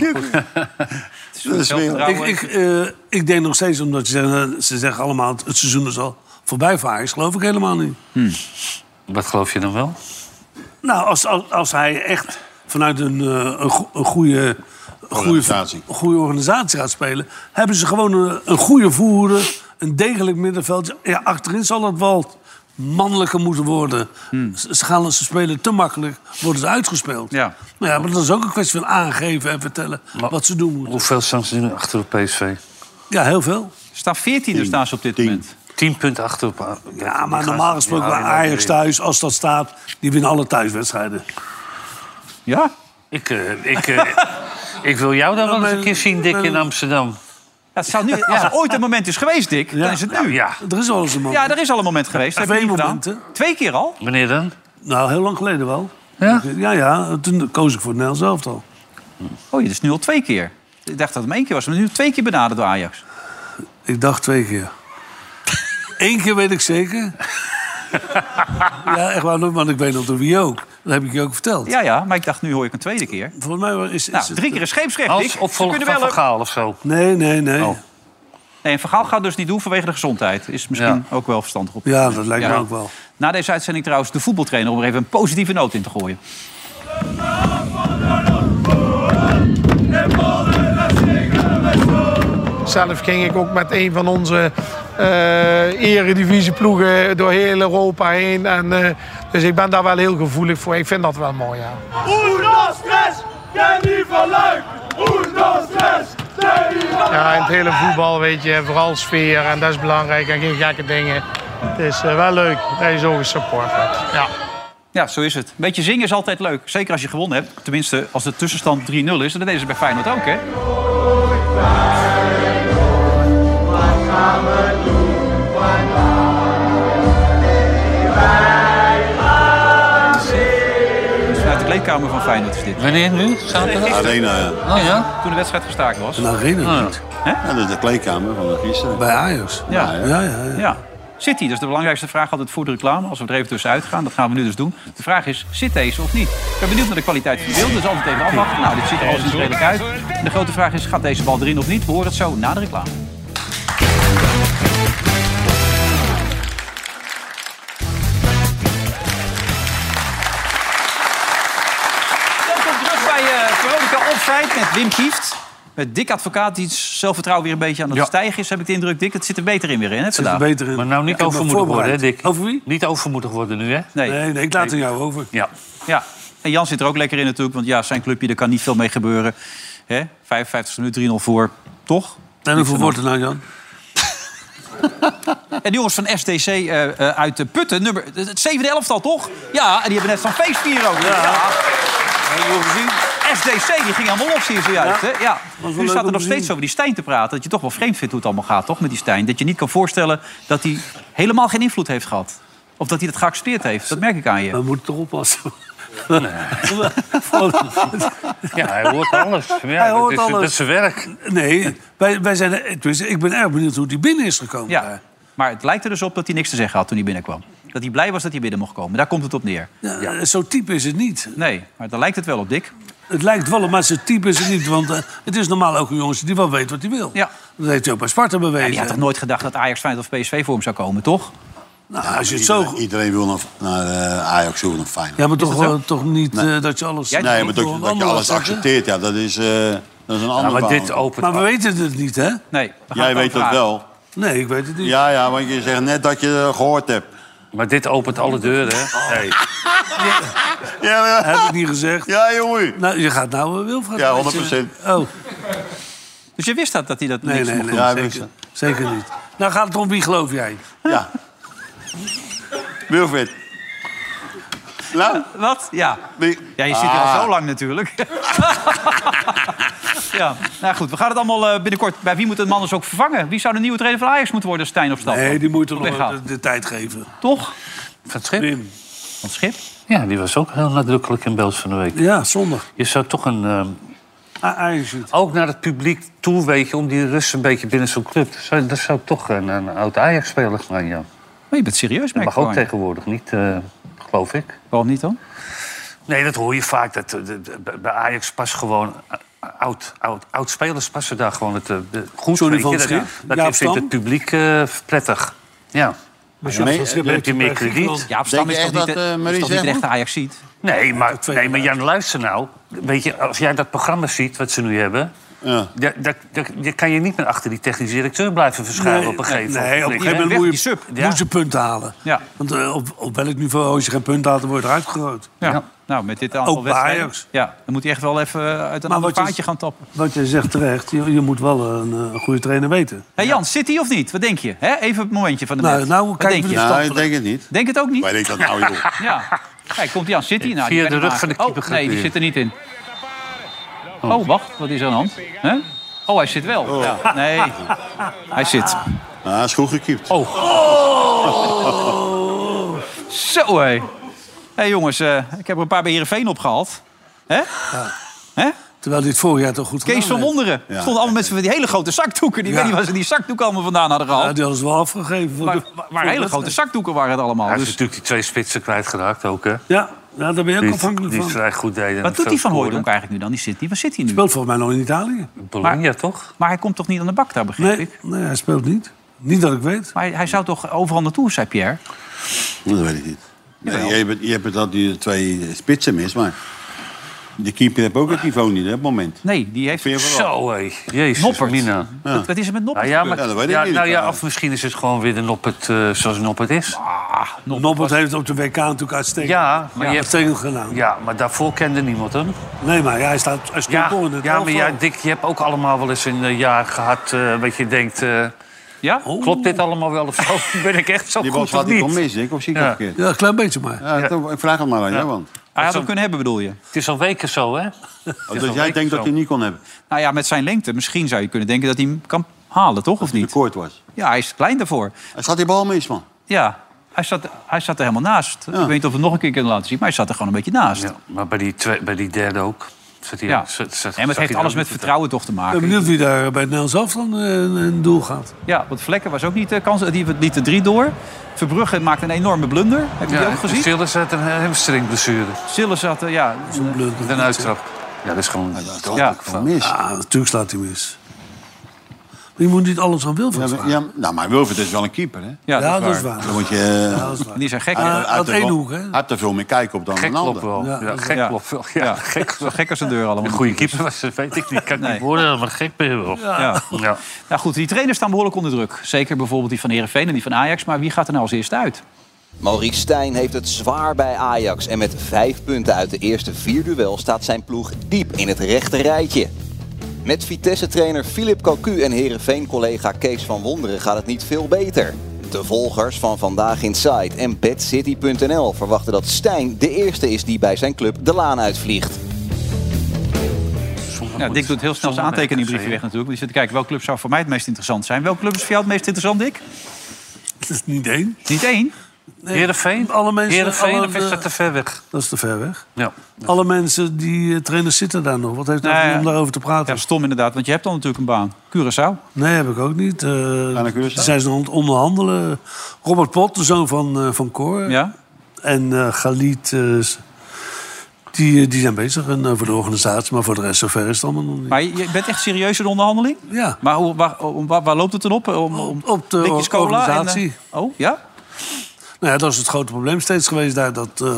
[SPEAKER 3] Nee, maar goed. Het is
[SPEAKER 2] Dat is
[SPEAKER 4] Ik,
[SPEAKER 3] zelfvertrouwen.
[SPEAKER 4] ik, eh, ik denk nog steeds, omdat ze zeggen, ze zeggen allemaal... het seizoen is al voorbij voor Ajax, geloof ik helemaal niet.
[SPEAKER 5] Wat geloof je dan wel?
[SPEAKER 4] Nou, als, als, als hij echt vanuit een, eh, een, go- een goede, goede,
[SPEAKER 2] Organisatie.
[SPEAKER 4] goede organisatie gaat spelen... hebben ze gewoon een, een goede voerder, een degelijk middenveld. Ja, achterin zal het wel mannelijker moeten worden. Ze, ze gaan, ze spelen te makkelijk, worden ze uitgespeeld.
[SPEAKER 3] Ja.
[SPEAKER 4] Maar ja, maar dat is ook een kwestie van aangeven en vertellen wat ze doen moeten.
[SPEAKER 5] Hoeveel staan ze nu achter op PSV?
[SPEAKER 4] Ja, heel veel.
[SPEAKER 3] Ze staan 14e staan ze op dit moment.
[SPEAKER 5] 10 punten achter op... Ja,
[SPEAKER 4] Ja, maar normaal gesproken bij Ajax thuis, als dat staat, die winnen alle thuiswedstrijden.
[SPEAKER 3] Ja?
[SPEAKER 5] Ik, eh, ik, eh, ik wil jou dan wel eens een keer zien, Dick, in Amsterdam.
[SPEAKER 3] Ja, het zou nu, als er ooit een moment is geweest, Dick, dan is het nu.
[SPEAKER 5] Ja,
[SPEAKER 4] Er is wel eens een man.
[SPEAKER 3] Ja, er is al een moment geweest. Dat heb je
[SPEAKER 4] Twee
[SPEAKER 3] niet gedaan.
[SPEAKER 4] momenten.
[SPEAKER 3] Twee keer al?
[SPEAKER 5] wanneer dan?
[SPEAKER 4] Nou, heel lang geleden wel.
[SPEAKER 5] Ja?
[SPEAKER 4] Ja, ja, toen koos ik voor het Nederlands elftal.
[SPEAKER 3] Oh, dit is nu al twee keer. Ik dacht dat het maar één keer was. Maar nu twee keer benaderd door Ajax.
[SPEAKER 4] Ik dacht twee keer. Eén keer weet ik zeker. ja, echt waar, want ik weet nog door wie ook. Dat heb ik je ook verteld.
[SPEAKER 3] Ja, ja, maar ik dacht nu hoor ik een tweede keer.
[SPEAKER 4] Volgens mij is, is
[SPEAKER 3] Nou,
[SPEAKER 4] het-
[SPEAKER 3] drie keer een scheepsrecht, Dick.
[SPEAKER 5] Als
[SPEAKER 3] Ze
[SPEAKER 5] opvolger
[SPEAKER 3] kunnen
[SPEAKER 5] van
[SPEAKER 3] wel
[SPEAKER 5] Van
[SPEAKER 3] een-
[SPEAKER 5] Gaal of zo.
[SPEAKER 4] Nee, nee, nee.
[SPEAKER 3] Oh. Nee, en Vergaal gaat dus niet doen vanwege de gezondheid. Is misschien ook wel verstandig op.
[SPEAKER 4] Ja, dat lijkt
[SPEAKER 3] Ja.
[SPEAKER 4] me ook wel.
[SPEAKER 3] Na deze uitzending trouwens de voetbaltrainer om er even een positieve noot in te gooien.
[SPEAKER 6] Zelf ging ik ook met een van onze eh eredivisieploegen door heel Europa heen. En, eh, dus ik ben daar wel heel gevoelig voor. Ik vind dat wel mooi, ja.
[SPEAKER 18] Uno, tres, Danny van Luik. Uno, tres, Danny van Luik.
[SPEAKER 6] ja. In het hele voetbal, weet je, vooral sfeer. En dat is belangrijk en geen gekke dingen. Het is eh, wel leuk dat je zo gesupport wordt. Ja.
[SPEAKER 3] Ja, zo is het. Een beetje zingen is altijd leuk. Zeker als je gewonnen hebt. Tenminste, als de tussenstand 3-0 is. En dat deden ze bij Feyenoord ook, hè? Dus vanuit de kleedkamer van Feyenoord is dit.
[SPEAKER 5] Wanneer nu? Zaterdag?
[SPEAKER 2] Arena, ja.
[SPEAKER 5] Oh ja? Nou,
[SPEAKER 3] Toen de wedstrijd gestaakt was.
[SPEAKER 4] Een arena. niet.
[SPEAKER 2] Ja, dat is de kleedkamer van gisteren.
[SPEAKER 4] Bij Ajax.
[SPEAKER 3] Ja.
[SPEAKER 4] Ja, ja, ja.
[SPEAKER 3] Ja. City, dat is de belangrijkste vraag altijd voor de reclame. Als we er even tussenuit gaan, dat gaan we nu dus doen. De vraag is, zit deze of niet? Ik ben benieuwd naar de kwaliteit van het beeld, dus altijd even afwachten. Nou, dit ziet er alles redelijk uit. En de grote vraag is, gaat deze bal erin of niet? We horen het zo na de reclame. Welkom terug bij eh, Veronica Offside met Wim Kieft. Met Dick Advocaat, die het zelfvertrouwen weer een beetje aan het stijgen is, heb ik de indruk. Dick, het zit er beter in weer, hè,
[SPEAKER 4] Het zit er
[SPEAKER 3] vandaag?
[SPEAKER 4] beter in.
[SPEAKER 5] Maar nou niet
[SPEAKER 4] Ik heb me
[SPEAKER 5] overmoedig worden, hè,
[SPEAKER 4] voorbereid.
[SPEAKER 5] Dick?
[SPEAKER 4] Over wie?
[SPEAKER 5] Niet overmoedig worden nu, hè?
[SPEAKER 3] Nee.
[SPEAKER 4] Nee, nee, ik laat het aan jou over.
[SPEAKER 5] Ja.
[SPEAKER 3] Ja, en Jan zit er ook lekker in natuurlijk. Want ja, zijn clubje, daar kan niet veel mee gebeuren. Hè? 55 minuten 3-0 voor, toch?
[SPEAKER 4] En hoeveel wordt het nou, Jan?
[SPEAKER 3] En die jongens van STC eh, eh, uit de Putten, nummer, het zevende elftal toch? Ja, en die hebben net van feestvier ook. Ja. SDC, die ging helemaal los hier zojuist.
[SPEAKER 4] Ja.
[SPEAKER 3] Hè? Ja.
[SPEAKER 4] wel
[SPEAKER 3] Nu
[SPEAKER 4] leuk
[SPEAKER 3] staat
[SPEAKER 4] om
[SPEAKER 3] er
[SPEAKER 4] te
[SPEAKER 3] nog steeds
[SPEAKER 4] zien.
[SPEAKER 3] over die Stijn te praten. Dat je toch wel vreemd vindt hoe het allemaal gaat, toch? Met die Stijn. Dat je niet kan voorstellen dat hij helemaal geen invloed heeft gehad. Of dat hij dat geaccepteerd heeft. Dat merk ik aan je.
[SPEAKER 4] We moeten toch oppassen.
[SPEAKER 5] Ja, hij hoort alles. Ja,
[SPEAKER 4] Hij
[SPEAKER 5] dat
[SPEAKER 4] hoort
[SPEAKER 5] is,
[SPEAKER 4] alles.
[SPEAKER 5] Dat is zijn werk.
[SPEAKER 4] Nee, wij, wij zijn, er- tenminste, ik ben erg benieuwd hoe die binnen is gekomen.
[SPEAKER 3] Ja,
[SPEAKER 4] daar.
[SPEAKER 3] maar het lijkt er dus op dat hij niks te zeggen had toen hij binnenkwam. Dat hij blij was dat hij binnen mocht komen. Daar komt het op neer.
[SPEAKER 4] Ja, eh, Zo type is het niet.
[SPEAKER 3] Nee, maar daar lijkt het wel op, Dick.
[SPEAKER 4] Het lijkt wel, maar zijn type is het niet. Want eh, het is normaal ook een jongetje die wel weet wat hij wil.
[SPEAKER 3] Ja.
[SPEAKER 4] Dat heeft hij ook bij Sparta bewezen.
[SPEAKER 3] die had toch nooit gedacht dat Ajax, Feyenoord of PSV voor hem zou komen, toch?
[SPEAKER 4] Nou, als je het
[SPEAKER 2] iedereen, iedereen wil naar, naar eh, Ajax toe, naar Feyenoord.
[SPEAKER 4] Ja, maar toch,
[SPEAKER 2] wel
[SPEAKER 4] wel- toch niet eh, dat je alles...
[SPEAKER 2] nee, maar toch, dat je alles accepteert, ja, dat is, eh, dat is een ander verhaal.
[SPEAKER 4] Maar we weten het niet, hè?
[SPEAKER 3] Nee.
[SPEAKER 2] Jij weet dat wel.
[SPEAKER 4] Nee, ik weet het niet.
[SPEAKER 2] Ja, ja, want je zegt net dat je eh, gehoord hebt.
[SPEAKER 5] Maar dit opent alle deuren, hè?
[SPEAKER 4] Oh.
[SPEAKER 2] Ja, ja.
[SPEAKER 4] Heb ik niet gezegd.
[SPEAKER 2] Ja, jongen.
[SPEAKER 4] Nou, je gaat nou eh, Wilfred.
[SPEAKER 2] Ja,
[SPEAKER 4] een beetje-
[SPEAKER 2] 100%.
[SPEAKER 4] Oh,
[SPEAKER 3] Dus je wist dat, dat hij dat
[SPEAKER 4] nee,
[SPEAKER 3] niks
[SPEAKER 4] nee,
[SPEAKER 3] mocht
[SPEAKER 4] nee.
[SPEAKER 3] doen?
[SPEAKER 4] zeker, zeker niet. Nou gaat het om wie geloof jij?
[SPEAKER 2] Ja. Wilfred. Nou?
[SPEAKER 3] Wat? Ja. Ja, je zit hier
[SPEAKER 2] Ah.
[SPEAKER 3] al zo lang natuurlijk. ja, nou goed. We gaan het allemaal eh, binnenkort... Bij wie moet het man dus ook vervangen? Wie zou de nieuwe trainer van Ajax moeten worden als Stijn op stap?
[SPEAKER 4] Nee, die moet er nog
[SPEAKER 3] Weggaat.
[SPEAKER 4] de, de tijd geven.
[SPEAKER 3] Toch?
[SPEAKER 5] Van het schip?
[SPEAKER 3] Van het schip?
[SPEAKER 5] Ja, die was ook heel nadrukkelijk in beeld van de week.
[SPEAKER 4] Ja, zondag. Ah,
[SPEAKER 5] Je zou toch een... ehm,
[SPEAKER 4] Ajax.
[SPEAKER 5] ook naar het publiek toe, weet je, om die rust een beetje binnen zo'n club. Dat zou, dat zou toch een, een oud Ajax-speler gaan, ja.
[SPEAKER 3] Maar je bent serieus,
[SPEAKER 5] Dat
[SPEAKER 3] merk
[SPEAKER 5] mag
[SPEAKER 3] ik
[SPEAKER 5] ook
[SPEAKER 3] gewoon.
[SPEAKER 5] tegenwoordig niet, eh, geloof ik.
[SPEAKER 3] Waarom niet dan?
[SPEAKER 5] Nee, dat hoor je vaak. Dat, eh, de- de- bij- bij Ajax pas gewoon... eh, Oud, oud, oud spelers passen daar gewoon het, eh, de- goed.
[SPEAKER 4] Johnny
[SPEAKER 5] weet
[SPEAKER 4] van
[SPEAKER 5] je,
[SPEAKER 4] het
[SPEAKER 5] dat
[SPEAKER 4] Schip?
[SPEAKER 5] dat
[SPEAKER 4] Jaap
[SPEAKER 5] vindt
[SPEAKER 4] Stam?
[SPEAKER 5] het publiek eh, prettig. Ja.
[SPEAKER 4] Maar Jaap van Schip
[SPEAKER 5] Dan heb
[SPEAKER 4] heeft
[SPEAKER 5] je
[SPEAKER 4] het
[SPEAKER 5] meer
[SPEAKER 4] bij
[SPEAKER 5] krediet.
[SPEAKER 4] Griekenland. Jaap Stam Denk je is toch echt niet dat, de- eh, Maurice is toch niet de Egmond? echte
[SPEAKER 3] ziet?
[SPEAKER 5] Nee, maar, nee, maar Jan, luister nou. Weet je, als jij dat programma ziet wat ze nu hebben...
[SPEAKER 2] Ja.
[SPEAKER 5] Dat, dat, dat- je kan je niet meer achter die technische directeur blijven verschuilen op een gegeven moment.
[SPEAKER 4] Nee, op een gegeven moment moet je,
[SPEAKER 5] Ja.
[SPEAKER 4] moet je punten halen.
[SPEAKER 3] Ja.
[SPEAKER 4] Want eh, op, op welk niveau, als je geen punten haalt, dan word je eruit gegooid.
[SPEAKER 3] Ja. Nou, met dit aantal
[SPEAKER 4] Ook bij
[SPEAKER 3] wedstrijden.
[SPEAKER 4] Ajax.
[SPEAKER 3] Ja, dan moet hij echt wel even uit een
[SPEAKER 4] Maar
[SPEAKER 3] ander
[SPEAKER 4] wat je-
[SPEAKER 3] paadje gaan tappen.
[SPEAKER 4] Wat je zegt terecht, je, je moet wel een, eh, goede trainer weten.
[SPEAKER 3] Hé Jan, zit hij of niet? Wat denk je? Hè? Even het momentje van de
[SPEAKER 4] Nou,
[SPEAKER 3] net.
[SPEAKER 4] nou,
[SPEAKER 3] Wat
[SPEAKER 4] kijken
[SPEAKER 3] denk
[SPEAKER 4] we
[SPEAKER 3] je?
[SPEAKER 4] de stand Nou, ik
[SPEAKER 2] denk het niet.
[SPEAKER 3] Denk het ook niet?
[SPEAKER 2] Wij denken dat nou, joh.
[SPEAKER 3] Ja. Kijk, komt hij aan. Zit hij? Nou, die
[SPEAKER 5] Via
[SPEAKER 3] kan
[SPEAKER 5] de
[SPEAKER 3] hij
[SPEAKER 5] rug
[SPEAKER 3] maken.
[SPEAKER 5] van de keeper
[SPEAKER 3] Oh,
[SPEAKER 5] gaat
[SPEAKER 3] nee, die
[SPEAKER 5] hij
[SPEAKER 3] zit er niet in. Oh, wacht. Wat is er aan de hand? Hè? Oh, hij zit wel. Ja. Nee. Hij zit.
[SPEAKER 2] Nou, hij is goed gekiept.
[SPEAKER 3] Oh. Zo, hé. Hé, jongens. eh, ik heb er een paar bij Heerenveen opgehaald. Hè? Hè?
[SPEAKER 4] Terwijl dit vorig jaar toch goed
[SPEAKER 3] Kees van
[SPEAKER 4] gedaan heeft.
[SPEAKER 3] Wonderen.
[SPEAKER 4] Nou, Ja.
[SPEAKER 3] stonden allemaal mensen met die hele grote zakdoeken. Die
[SPEAKER 4] Ja.
[SPEAKER 3] weet niet waar ze die zakdoeken allemaal vandaan hadden gehaald.
[SPEAKER 4] Ja, die hadden ze wel afgegeven. Voor
[SPEAKER 3] Maar-
[SPEAKER 4] de-
[SPEAKER 3] maar-
[SPEAKER 4] voor
[SPEAKER 3] maar
[SPEAKER 4] de
[SPEAKER 3] hele grote
[SPEAKER 4] wedstrijd.
[SPEAKER 3] zakdoeken waren het allemaal.
[SPEAKER 5] Hij is
[SPEAKER 3] Dus
[SPEAKER 5] natuurlijk die twee spitsen kwijtgeraakt ook, hè?
[SPEAKER 4] Ja, ja, daar ben je ook
[SPEAKER 5] Die,
[SPEAKER 4] afhankelijk
[SPEAKER 5] die
[SPEAKER 4] van.
[SPEAKER 5] vrij goed deden.
[SPEAKER 3] wat doet die Van Hooydonk eigenlijk nu dan? Die zit niet. Waar zit hij nu?
[SPEAKER 4] Speelt volgens mij nog in Italië.
[SPEAKER 5] Bologna, toch?
[SPEAKER 3] Maar hij komt toch niet aan de bak daar, begrijp ik?
[SPEAKER 4] Nee, hij speelt niet. Niet dat ik weet.
[SPEAKER 3] Maar hij, hij zou toch overal naartoe, zei Pierre?
[SPEAKER 2] Dat weet ik niet. Nee, je, hebt, je hebt het dat die twee spitsen mis, maar de keeper heeft ook het niveau niet hè, op het moment.
[SPEAKER 3] Nee, die heeft...
[SPEAKER 2] Vind je wel?
[SPEAKER 5] Zo, hé. Jezus,
[SPEAKER 3] Noppert.
[SPEAKER 5] Mina.
[SPEAKER 3] Wat, wat is er met Noppert
[SPEAKER 5] Nou ja, maar,
[SPEAKER 3] gebeurd?
[SPEAKER 2] Ja, dat weet ik
[SPEAKER 5] ja,
[SPEAKER 2] niet.
[SPEAKER 5] nou ja,
[SPEAKER 2] Ja.
[SPEAKER 5] of misschien is het gewoon weer de Noppert eh, zoals Noppert is.
[SPEAKER 4] Noppert heeft op de WK natuurlijk uitstekend,
[SPEAKER 5] Ja, maar je hebt-
[SPEAKER 4] uitstekend gedaan.
[SPEAKER 5] Ja, maar daarvoor kende niemand hem.
[SPEAKER 4] Nee, maar ja, hij staat hij stond
[SPEAKER 5] Ja,
[SPEAKER 4] voor in het
[SPEAKER 5] ja maar ja,
[SPEAKER 4] elftal.
[SPEAKER 5] Dick, je hebt ook allemaal wel eens een eh, jaar gehad eh wat je denkt... eh,
[SPEAKER 3] Ja?
[SPEAKER 5] Klopt dit allemaal wel of zo? Ben ik echt zo
[SPEAKER 2] Die bal
[SPEAKER 5] goed of
[SPEAKER 2] gaat niet
[SPEAKER 5] niet?
[SPEAKER 2] om mis, ik, of zie ik
[SPEAKER 5] Ja.
[SPEAKER 2] dat verkeerd?
[SPEAKER 4] Ja, een klein beetje maar.
[SPEAKER 2] Ja, dat- Ik vraag het maar aan jou, want
[SPEAKER 3] Hij had hem kunnen hebben, bedoel je?
[SPEAKER 5] Het is al weken zo, hè?
[SPEAKER 2] oh, dat jij denkt dat hij niet kon hebben.
[SPEAKER 3] Nou ja, met zijn lengte. Misschien zou je kunnen denken dat hij hem kan halen, toch? Of
[SPEAKER 2] Die
[SPEAKER 3] niet?
[SPEAKER 2] tekort was.
[SPEAKER 3] Ja, hij is klein daarvoor.
[SPEAKER 2] Hij gaat die bal mis, man.
[SPEAKER 3] Ja, hij zat, hij zat er helemaal naast. Ik weet niet of we het nog een keer kunnen laten zien, maar hij zat er gewoon een beetje naast.
[SPEAKER 5] Ja, maar bij die, twee, bij die derde ook. Zat hij,
[SPEAKER 3] Ja.
[SPEAKER 5] zat- zat-
[SPEAKER 3] En
[SPEAKER 5] zag
[SPEAKER 3] het heeft
[SPEAKER 5] hij
[SPEAKER 3] alles
[SPEAKER 5] daar
[SPEAKER 3] met
[SPEAKER 5] niet-
[SPEAKER 3] vertrouwen toch te
[SPEAKER 4] Ik ben
[SPEAKER 3] maken.
[SPEAKER 4] benieuwd wie daar bij het Nederlands elftal een, een doel gaat.
[SPEAKER 3] Ja, want Vlekken was ook niet de kans. Die liet de drie door. Verbrugge maakte een enorme blunder. Heb je die ook
[SPEAKER 5] Ja,
[SPEAKER 3] gezien?
[SPEAKER 5] Stillers had een hamstringblessure.
[SPEAKER 3] Sille zat er, ja.
[SPEAKER 5] Met een uittrap. Ja, dat is gewoon...
[SPEAKER 3] Ja,
[SPEAKER 2] Mis.
[SPEAKER 4] Ah, natuurlijk slaat hij mis. Maar je moet niet alles aan Wilfred
[SPEAKER 2] Ja,
[SPEAKER 4] vragen.
[SPEAKER 2] ja, nou, maar Wilfred is wel een keeper, hè?
[SPEAKER 3] ja,
[SPEAKER 4] Ja,
[SPEAKER 3] dat is waar.
[SPEAKER 4] waar.
[SPEAKER 2] Dan moet je... eh,
[SPEAKER 4] Ja, dat is waar.
[SPEAKER 3] Die zijn gek.
[SPEAKER 4] Ah,
[SPEAKER 3] hè?
[SPEAKER 4] dat
[SPEAKER 2] hij heeft er
[SPEAKER 4] één
[SPEAKER 2] wel-
[SPEAKER 4] hoek, hè?
[SPEAKER 2] hij heeft er veel meer kijk op dan
[SPEAKER 5] Gek
[SPEAKER 2] een
[SPEAKER 5] klopt
[SPEAKER 2] ander.
[SPEAKER 5] wel.
[SPEAKER 4] Ja,
[SPEAKER 5] Ja,
[SPEAKER 4] dat is-
[SPEAKER 5] gek
[SPEAKER 3] ja.
[SPEAKER 5] klopt wel. Ja,
[SPEAKER 3] Ja.
[SPEAKER 5] gek klopt.
[SPEAKER 3] Zo gek als een deur allemaal.
[SPEAKER 5] Een goede keeper was ze, weet ik niet. Kan ik
[SPEAKER 3] Nee.
[SPEAKER 5] niet worden, maar gek ben je wel.
[SPEAKER 3] Ja.
[SPEAKER 5] Ja.
[SPEAKER 3] Nou goed, die trainers staan behoorlijk onder druk. Zeker bijvoorbeeld die van Herenveen en die van Ajax. Maar wie gaat er nou als eerste uit?
[SPEAKER 7] Maurice Stijn heeft het zwaar bij Ajax. En met vijf punten uit de eerste vier duel staat zijn ploeg diep in het rechte rijtje. Met Vitesse-trainer Philip Cocu en Heerenveen-collega Kees van Wonderen gaat het niet veel beter. De volgers van Vandaag Inside en BadCity.nl verwachten dat Stijn de eerste is die bij zijn club de laan uitvliegt.
[SPEAKER 3] Ja, Dick doet heel snel zijn aantekeningbriefje weg natuurlijk. Die zit te kijken, welke club zou voor mij het meest interessant zijn? Welke club is voor jou het meest interessant, Dick?
[SPEAKER 4] Dat is niet één.
[SPEAKER 3] Niet één?
[SPEAKER 5] Heerenveen?
[SPEAKER 4] Alle mensen,
[SPEAKER 5] Heerenveen
[SPEAKER 4] alle- eh,
[SPEAKER 5] of is dat te ver weg?
[SPEAKER 4] Dat is te ver weg.
[SPEAKER 5] Ja.
[SPEAKER 4] Alle mensen, die eh, trainers zitten daar nog. Wat heeft dat
[SPEAKER 3] Nou ja.
[SPEAKER 4] om daarover te praten?
[SPEAKER 3] Ja, stom inderdaad, want je hebt dan natuurlijk een baan. Curaçao.
[SPEAKER 4] Nee, heb ik ook niet. Eh,
[SPEAKER 2] naar Curaçao?
[SPEAKER 4] ze zijn ze aan het onderhandelen. Robert Pot, de zoon van, eh, van Cor.
[SPEAKER 3] Ja?
[SPEAKER 4] En eh Galit. eh, Die, eh, die zijn bezig en, eh, voor de organisatie, maar voor de rest zover is het allemaal nog niet.
[SPEAKER 3] Maar je je bent echt serieus in de onderhandeling?
[SPEAKER 4] Ja.
[SPEAKER 3] Maar hoe, waar, om- waar, waar loopt het dan op? Om, om
[SPEAKER 4] Op
[SPEAKER 5] Oh,
[SPEAKER 4] de
[SPEAKER 3] blikjes cola en, eh,
[SPEAKER 4] organisatie.
[SPEAKER 3] oh, ja?
[SPEAKER 4] Nou ja, dat is het grote probleem steeds geweest daar. Dat eh,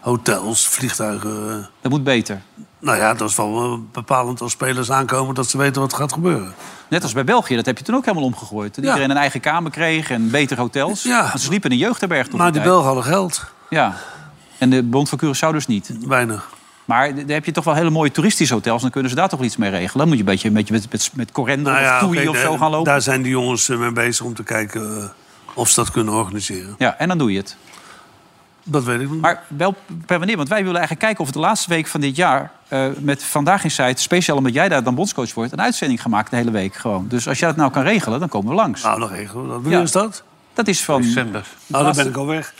[SPEAKER 4] hotels, vliegtuigen... eh,
[SPEAKER 3] dat moet beter.
[SPEAKER 4] Nou ja, dat is wel eh, bepalend als spelers aankomen dat ze weten wat er gaat gebeuren.
[SPEAKER 3] Net als bij België, dat heb je toen ook helemaal omgegooid. Dat
[SPEAKER 4] Ja.
[SPEAKER 3] iedereen een eigen kamer kreeg en betere hotels. Want ze liepen in een jeugdherberg toen.
[SPEAKER 4] Maar die Belgen hadden geld.
[SPEAKER 3] Ja. En de Bond van Curaçao dus niet.
[SPEAKER 4] Weinig.
[SPEAKER 3] Maar d- daar heb je toch wel hele mooie toeristische hotels. Dan kunnen ze daar toch wel iets mee regelen. Dan moet je een beetje, een beetje met, met, met Corendon
[SPEAKER 4] Nou
[SPEAKER 3] of
[SPEAKER 4] ja,
[SPEAKER 3] Toei
[SPEAKER 4] oké,
[SPEAKER 3] of
[SPEAKER 4] de-
[SPEAKER 3] zo gaan lopen.
[SPEAKER 4] Daar zijn die jongens eh, mee bezig om te kijken eh, of ze dat kunnen organiseren.
[SPEAKER 3] Ja, en dan doe je het.
[SPEAKER 4] Dat weet ik niet.
[SPEAKER 3] Maar wel per wanneer? Want wij willen eigenlijk kijken of we de laatste week van dit jaar... eh, met Vandaag in Site, speciaal omdat jij daar dan bondscoach wordt... een uitzending gemaakt de hele week gewoon. Dus als jij dat nou kan regelen, dan komen we langs. Nou,
[SPEAKER 4] dan regelen we dat. Wanneer is dat?
[SPEAKER 3] Dat is van...
[SPEAKER 5] December.
[SPEAKER 4] Nou, dan ben ik al weg.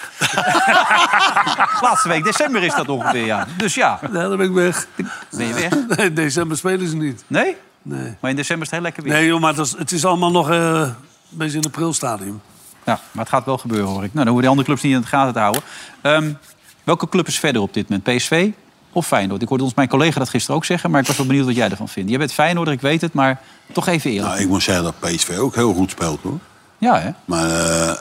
[SPEAKER 3] Laatste week december is dat ongeveer, ja. Dus ja.
[SPEAKER 4] Nee, Nou, dan ben ik weg.
[SPEAKER 3] Ben je weg?
[SPEAKER 4] Nee, in december spelen ze niet.
[SPEAKER 3] Nee?
[SPEAKER 4] Nee.
[SPEAKER 3] Maar in december is het heel lekker weer.
[SPEAKER 4] Nee, joh, maar dat is- het is allemaal nog eh, een beetje in het prilstadium.
[SPEAKER 3] Ja, Nou, maar het gaat wel gebeuren, hoor ik. Nou, dan hoeven die andere clubs niet in de gaten te houden. Ehm, welke club is verder op dit moment? PSV of Feyenoord? Ik hoorde ons mijn collega dat gisteren ook zeggen... maar ik was wel benieuwd wat jij ervan vindt. Jij bent Feyenoorder, ik weet het, maar toch even eerlijk.
[SPEAKER 2] Nou, ik moet zeggen dat PSV ook heel goed speelt, hoor.
[SPEAKER 4] Nou.
[SPEAKER 3] Ja, hè?
[SPEAKER 2] Maar, eh, eh,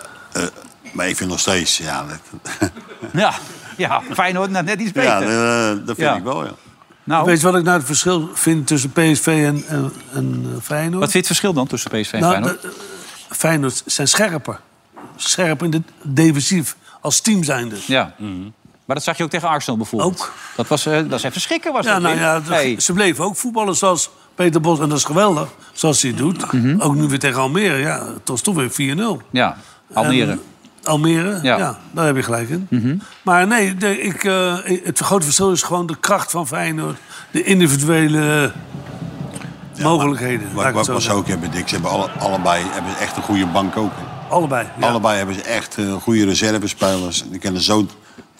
[SPEAKER 2] maar ik vind nog steeds, ja, dat,
[SPEAKER 3] Ja, ja Feyenoord nou, net iets beter.
[SPEAKER 2] ja, eh, dat, dat vind
[SPEAKER 3] Ja.
[SPEAKER 2] ik wel, ja.
[SPEAKER 3] Nou.
[SPEAKER 4] Weet je wat ik nou het verschil vind tussen PSV en, en, en eh, Feyenoord?
[SPEAKER 3] Wat vind je het verschil dan tussen PSV en
[SPEAKER 4] Nou,
[SPEAKER 3] Feyenoord?
[SPEAKER 4] de- eh, Feyenoord zijn scherper. Scherp in de defensief, als team zijnde.
[SPEAKER 3] Ja. Maar dat zag je ook tegen Arsenal bijvoorbeeld. Ook. Dat was, eh, dat is even schrikken, was
[SPEAKER 4] Ja,
[SPEAKER 3] dat.
[SPEAKER 4] nou
[SPEAKER 3] Wim?
[SPEAKER 4] ja, d-
[SPEAKER 3] Hey.
[SPEAKER 4] Ze bleven ook voetballen zoals Peter Bos. En dat is geweldig, zoals hij het doet. Ook nu weer tegen Almere. Ja, het was toch weer 4-0.
[SPEAKER 3] Mhm. Ja,
[SPEAKER 4] Ehm,
[SPEAKER 3] Almere.
[SPEAKER 4] En Almere,
[SPEAKER 3] Ja. Mhm.
[SPEAKER 4] ja. daar heb je gelijk in. Maar nee, de- ik, eh, het grote verschil is gewoon de kracht van Feyenoord. De individuele mogelijkheden. laat
[SPEAKER 2] Wat,
[SPEAKER 4] ik het
[SPEAKER 2] wat,
[SPEAKER 4] zo
[SPEAKER 2] wat ze
[SPEAKER 4] zeggen.
[SPEAKER 2] ook hebben, Dick, ze hebben alle, allebei hebben ze echt een goede bank ook. hè.
[SPEAKER 4] Allebei. ja.
[SPEAKER 2] Allebei hebben ze echt eh, goede reservespelers. Die kunnen zo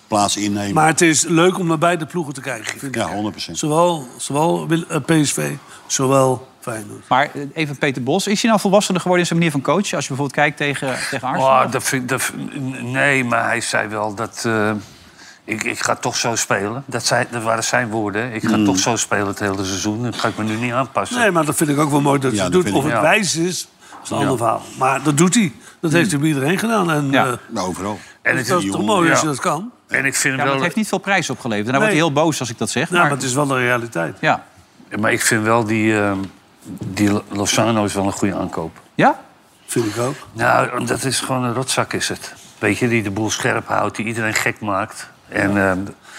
[SPEAKER 2] plaats innemen.
[SPEAKER 4] Maar het is leuk om naar beide ploegen te kijken. Vind
[SPEAKER 2] ja,
[SPEAKER 4] ik.
[SPEAKER 2] 100 procent.
[SPEAKER 4] Zowel, zowel Wil- eh, PSV, zowel Feyenoord.
[SPEAKER 3] Maar eh, even Peter Bos, is hij nou volwassener geworden in zijn manier van coachen? Als je bijvoorbeeld kijkt tegen, tegen Arsenal.
[SPEAKER 5] Oh, dat vind, dat, vind- nee, maar hij zei wel dat... eh, ik, ik ga toch zo spelen. Dat, zei, dat waren zijn woorden. hè. Ik ga
[SPEAKER 4] Mm.
[SPEAKER 5] toch zo spelen het hele seizoen. Dat ga ik me nu niet aanpassen.
[SPEAKER 4] Nee, maar dat vind ik ook wel mooi dat
[SPEAKER 5] Ja,
[SPEAKER 4] hij
[SPEAKER 5] dat
[SPEAKER 4] doet.
[SPEAKER 5] vind
[SPEAKER 4] Of
[SPEAKER 5] ik
[SPEAKER 4] het
[SPEAKER 5] ook.
[SPEAKER 4] wijs is, dat is een ander
[SPEAKER 5] Ja.
[SPEAKER 4] verhaal. Maar dat doet hij. Dat heeft hij bij iedereen gedaan. En, eh,
[SPEAKER 2] overal.
[SPEAKER 4] En het dat is toch mooi als je dat kan?
[SPEAKER 5] En ik vind
[SPEAKER 3] Ja, maar
[SPEAKER 5] wel... Nou,
[SPEAKER 3] het heeft niet veel prijs opgeleverd. En dan
[SPEAKER 4] Nee.
[SPEAKER 3] wordt hij heel boos als ik dat zeg.
[SPEAKER 4] Ja, maar het is wel de realiteit.
[SPEAKER 3] Ja.
[SPEAKER 5] Maar ik vind wel die, eh, die Lo- Lozano is wel een goede aankoop.
[SPEAKER 3] Ja?
[SPEAKER 4] Vind ik ook.
[SPEAKER 5] Nou, dat is gewoon een rotzak is het. Weet je, die de boel scherp houdt, die iedereen gek maakt. En, eh,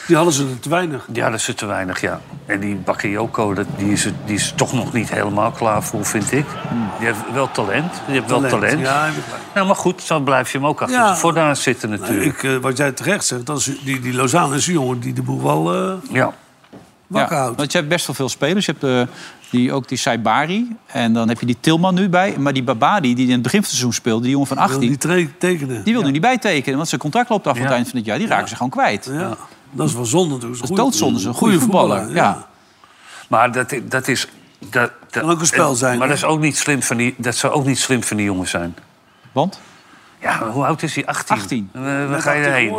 [SPEAKER 4] Die hadden ze er te weinig.
[SPEAKER 5] ja, dat is er te weinig, ja. En die Bakayoko, dat, die, is, er- die is toch nog niet helemaal klaar voor, vind ik. Die heeft wel talent. Die heeft wel talent.
[SPEAKER 4] Hmm. Ja, heb ik gelijk.
[SPEAKER 5] Nou, maar goed, dan blijf je hem ook achter
[SPEAKER 4] Ja.
[SPEAKER 5] ja. voordaan zitten
[SPEAKER 4] ik,
[SPEAKER 5] natuurlijk.
[SPEAKER 4] eh, wat jij terecht zegt, dat is, die, die Lozano is een jongen die de boel wel... eh,
[SPEAKER 5] ja.
[SPEAKER 4] wakker
[SPEAKER 3] Ja,
[SPEAKER 4] houdt.
[SPEAKER 3] Want je hebt best wel veel spelers. Je hebt eh, die, ook die Saibari. En dan heb je die Tilman nu bij. Maar die Babadi, die in het begin van het seizoen speelde, die jongen van 18...
[SPEAKER 4] Die tre- tekenen.
[SPEAKER 3] Die wil nu niet bijtekenen, want zijn contract loopt af aan het eind van het jaar. Die raken ze gewoon kwijt.
[SPEAKER 4] Ja, dat is wel zonde natuurlijk.
[SPEAKER 3] Dat is doodzonde, zo'n goede voetballer. Ja.
[SPEAKER 5] Maar dat, dat is... Dat, dat
[SPEAKER 4] ook een spel zijn,
[SPEAKER 5] Maar
[SPEAKER 4] hè?
[SPEAKER 5] dat, is ook niet slim van die, dat zou ook niet slim van die jongen zijn.
[SPEAKER 3] Want?
[SPEAKER 5] Ja, hoe oud is hij? 18.
[SPEAKER 3] 18.
[SPEAKER 5] Eh, waar ga je heen?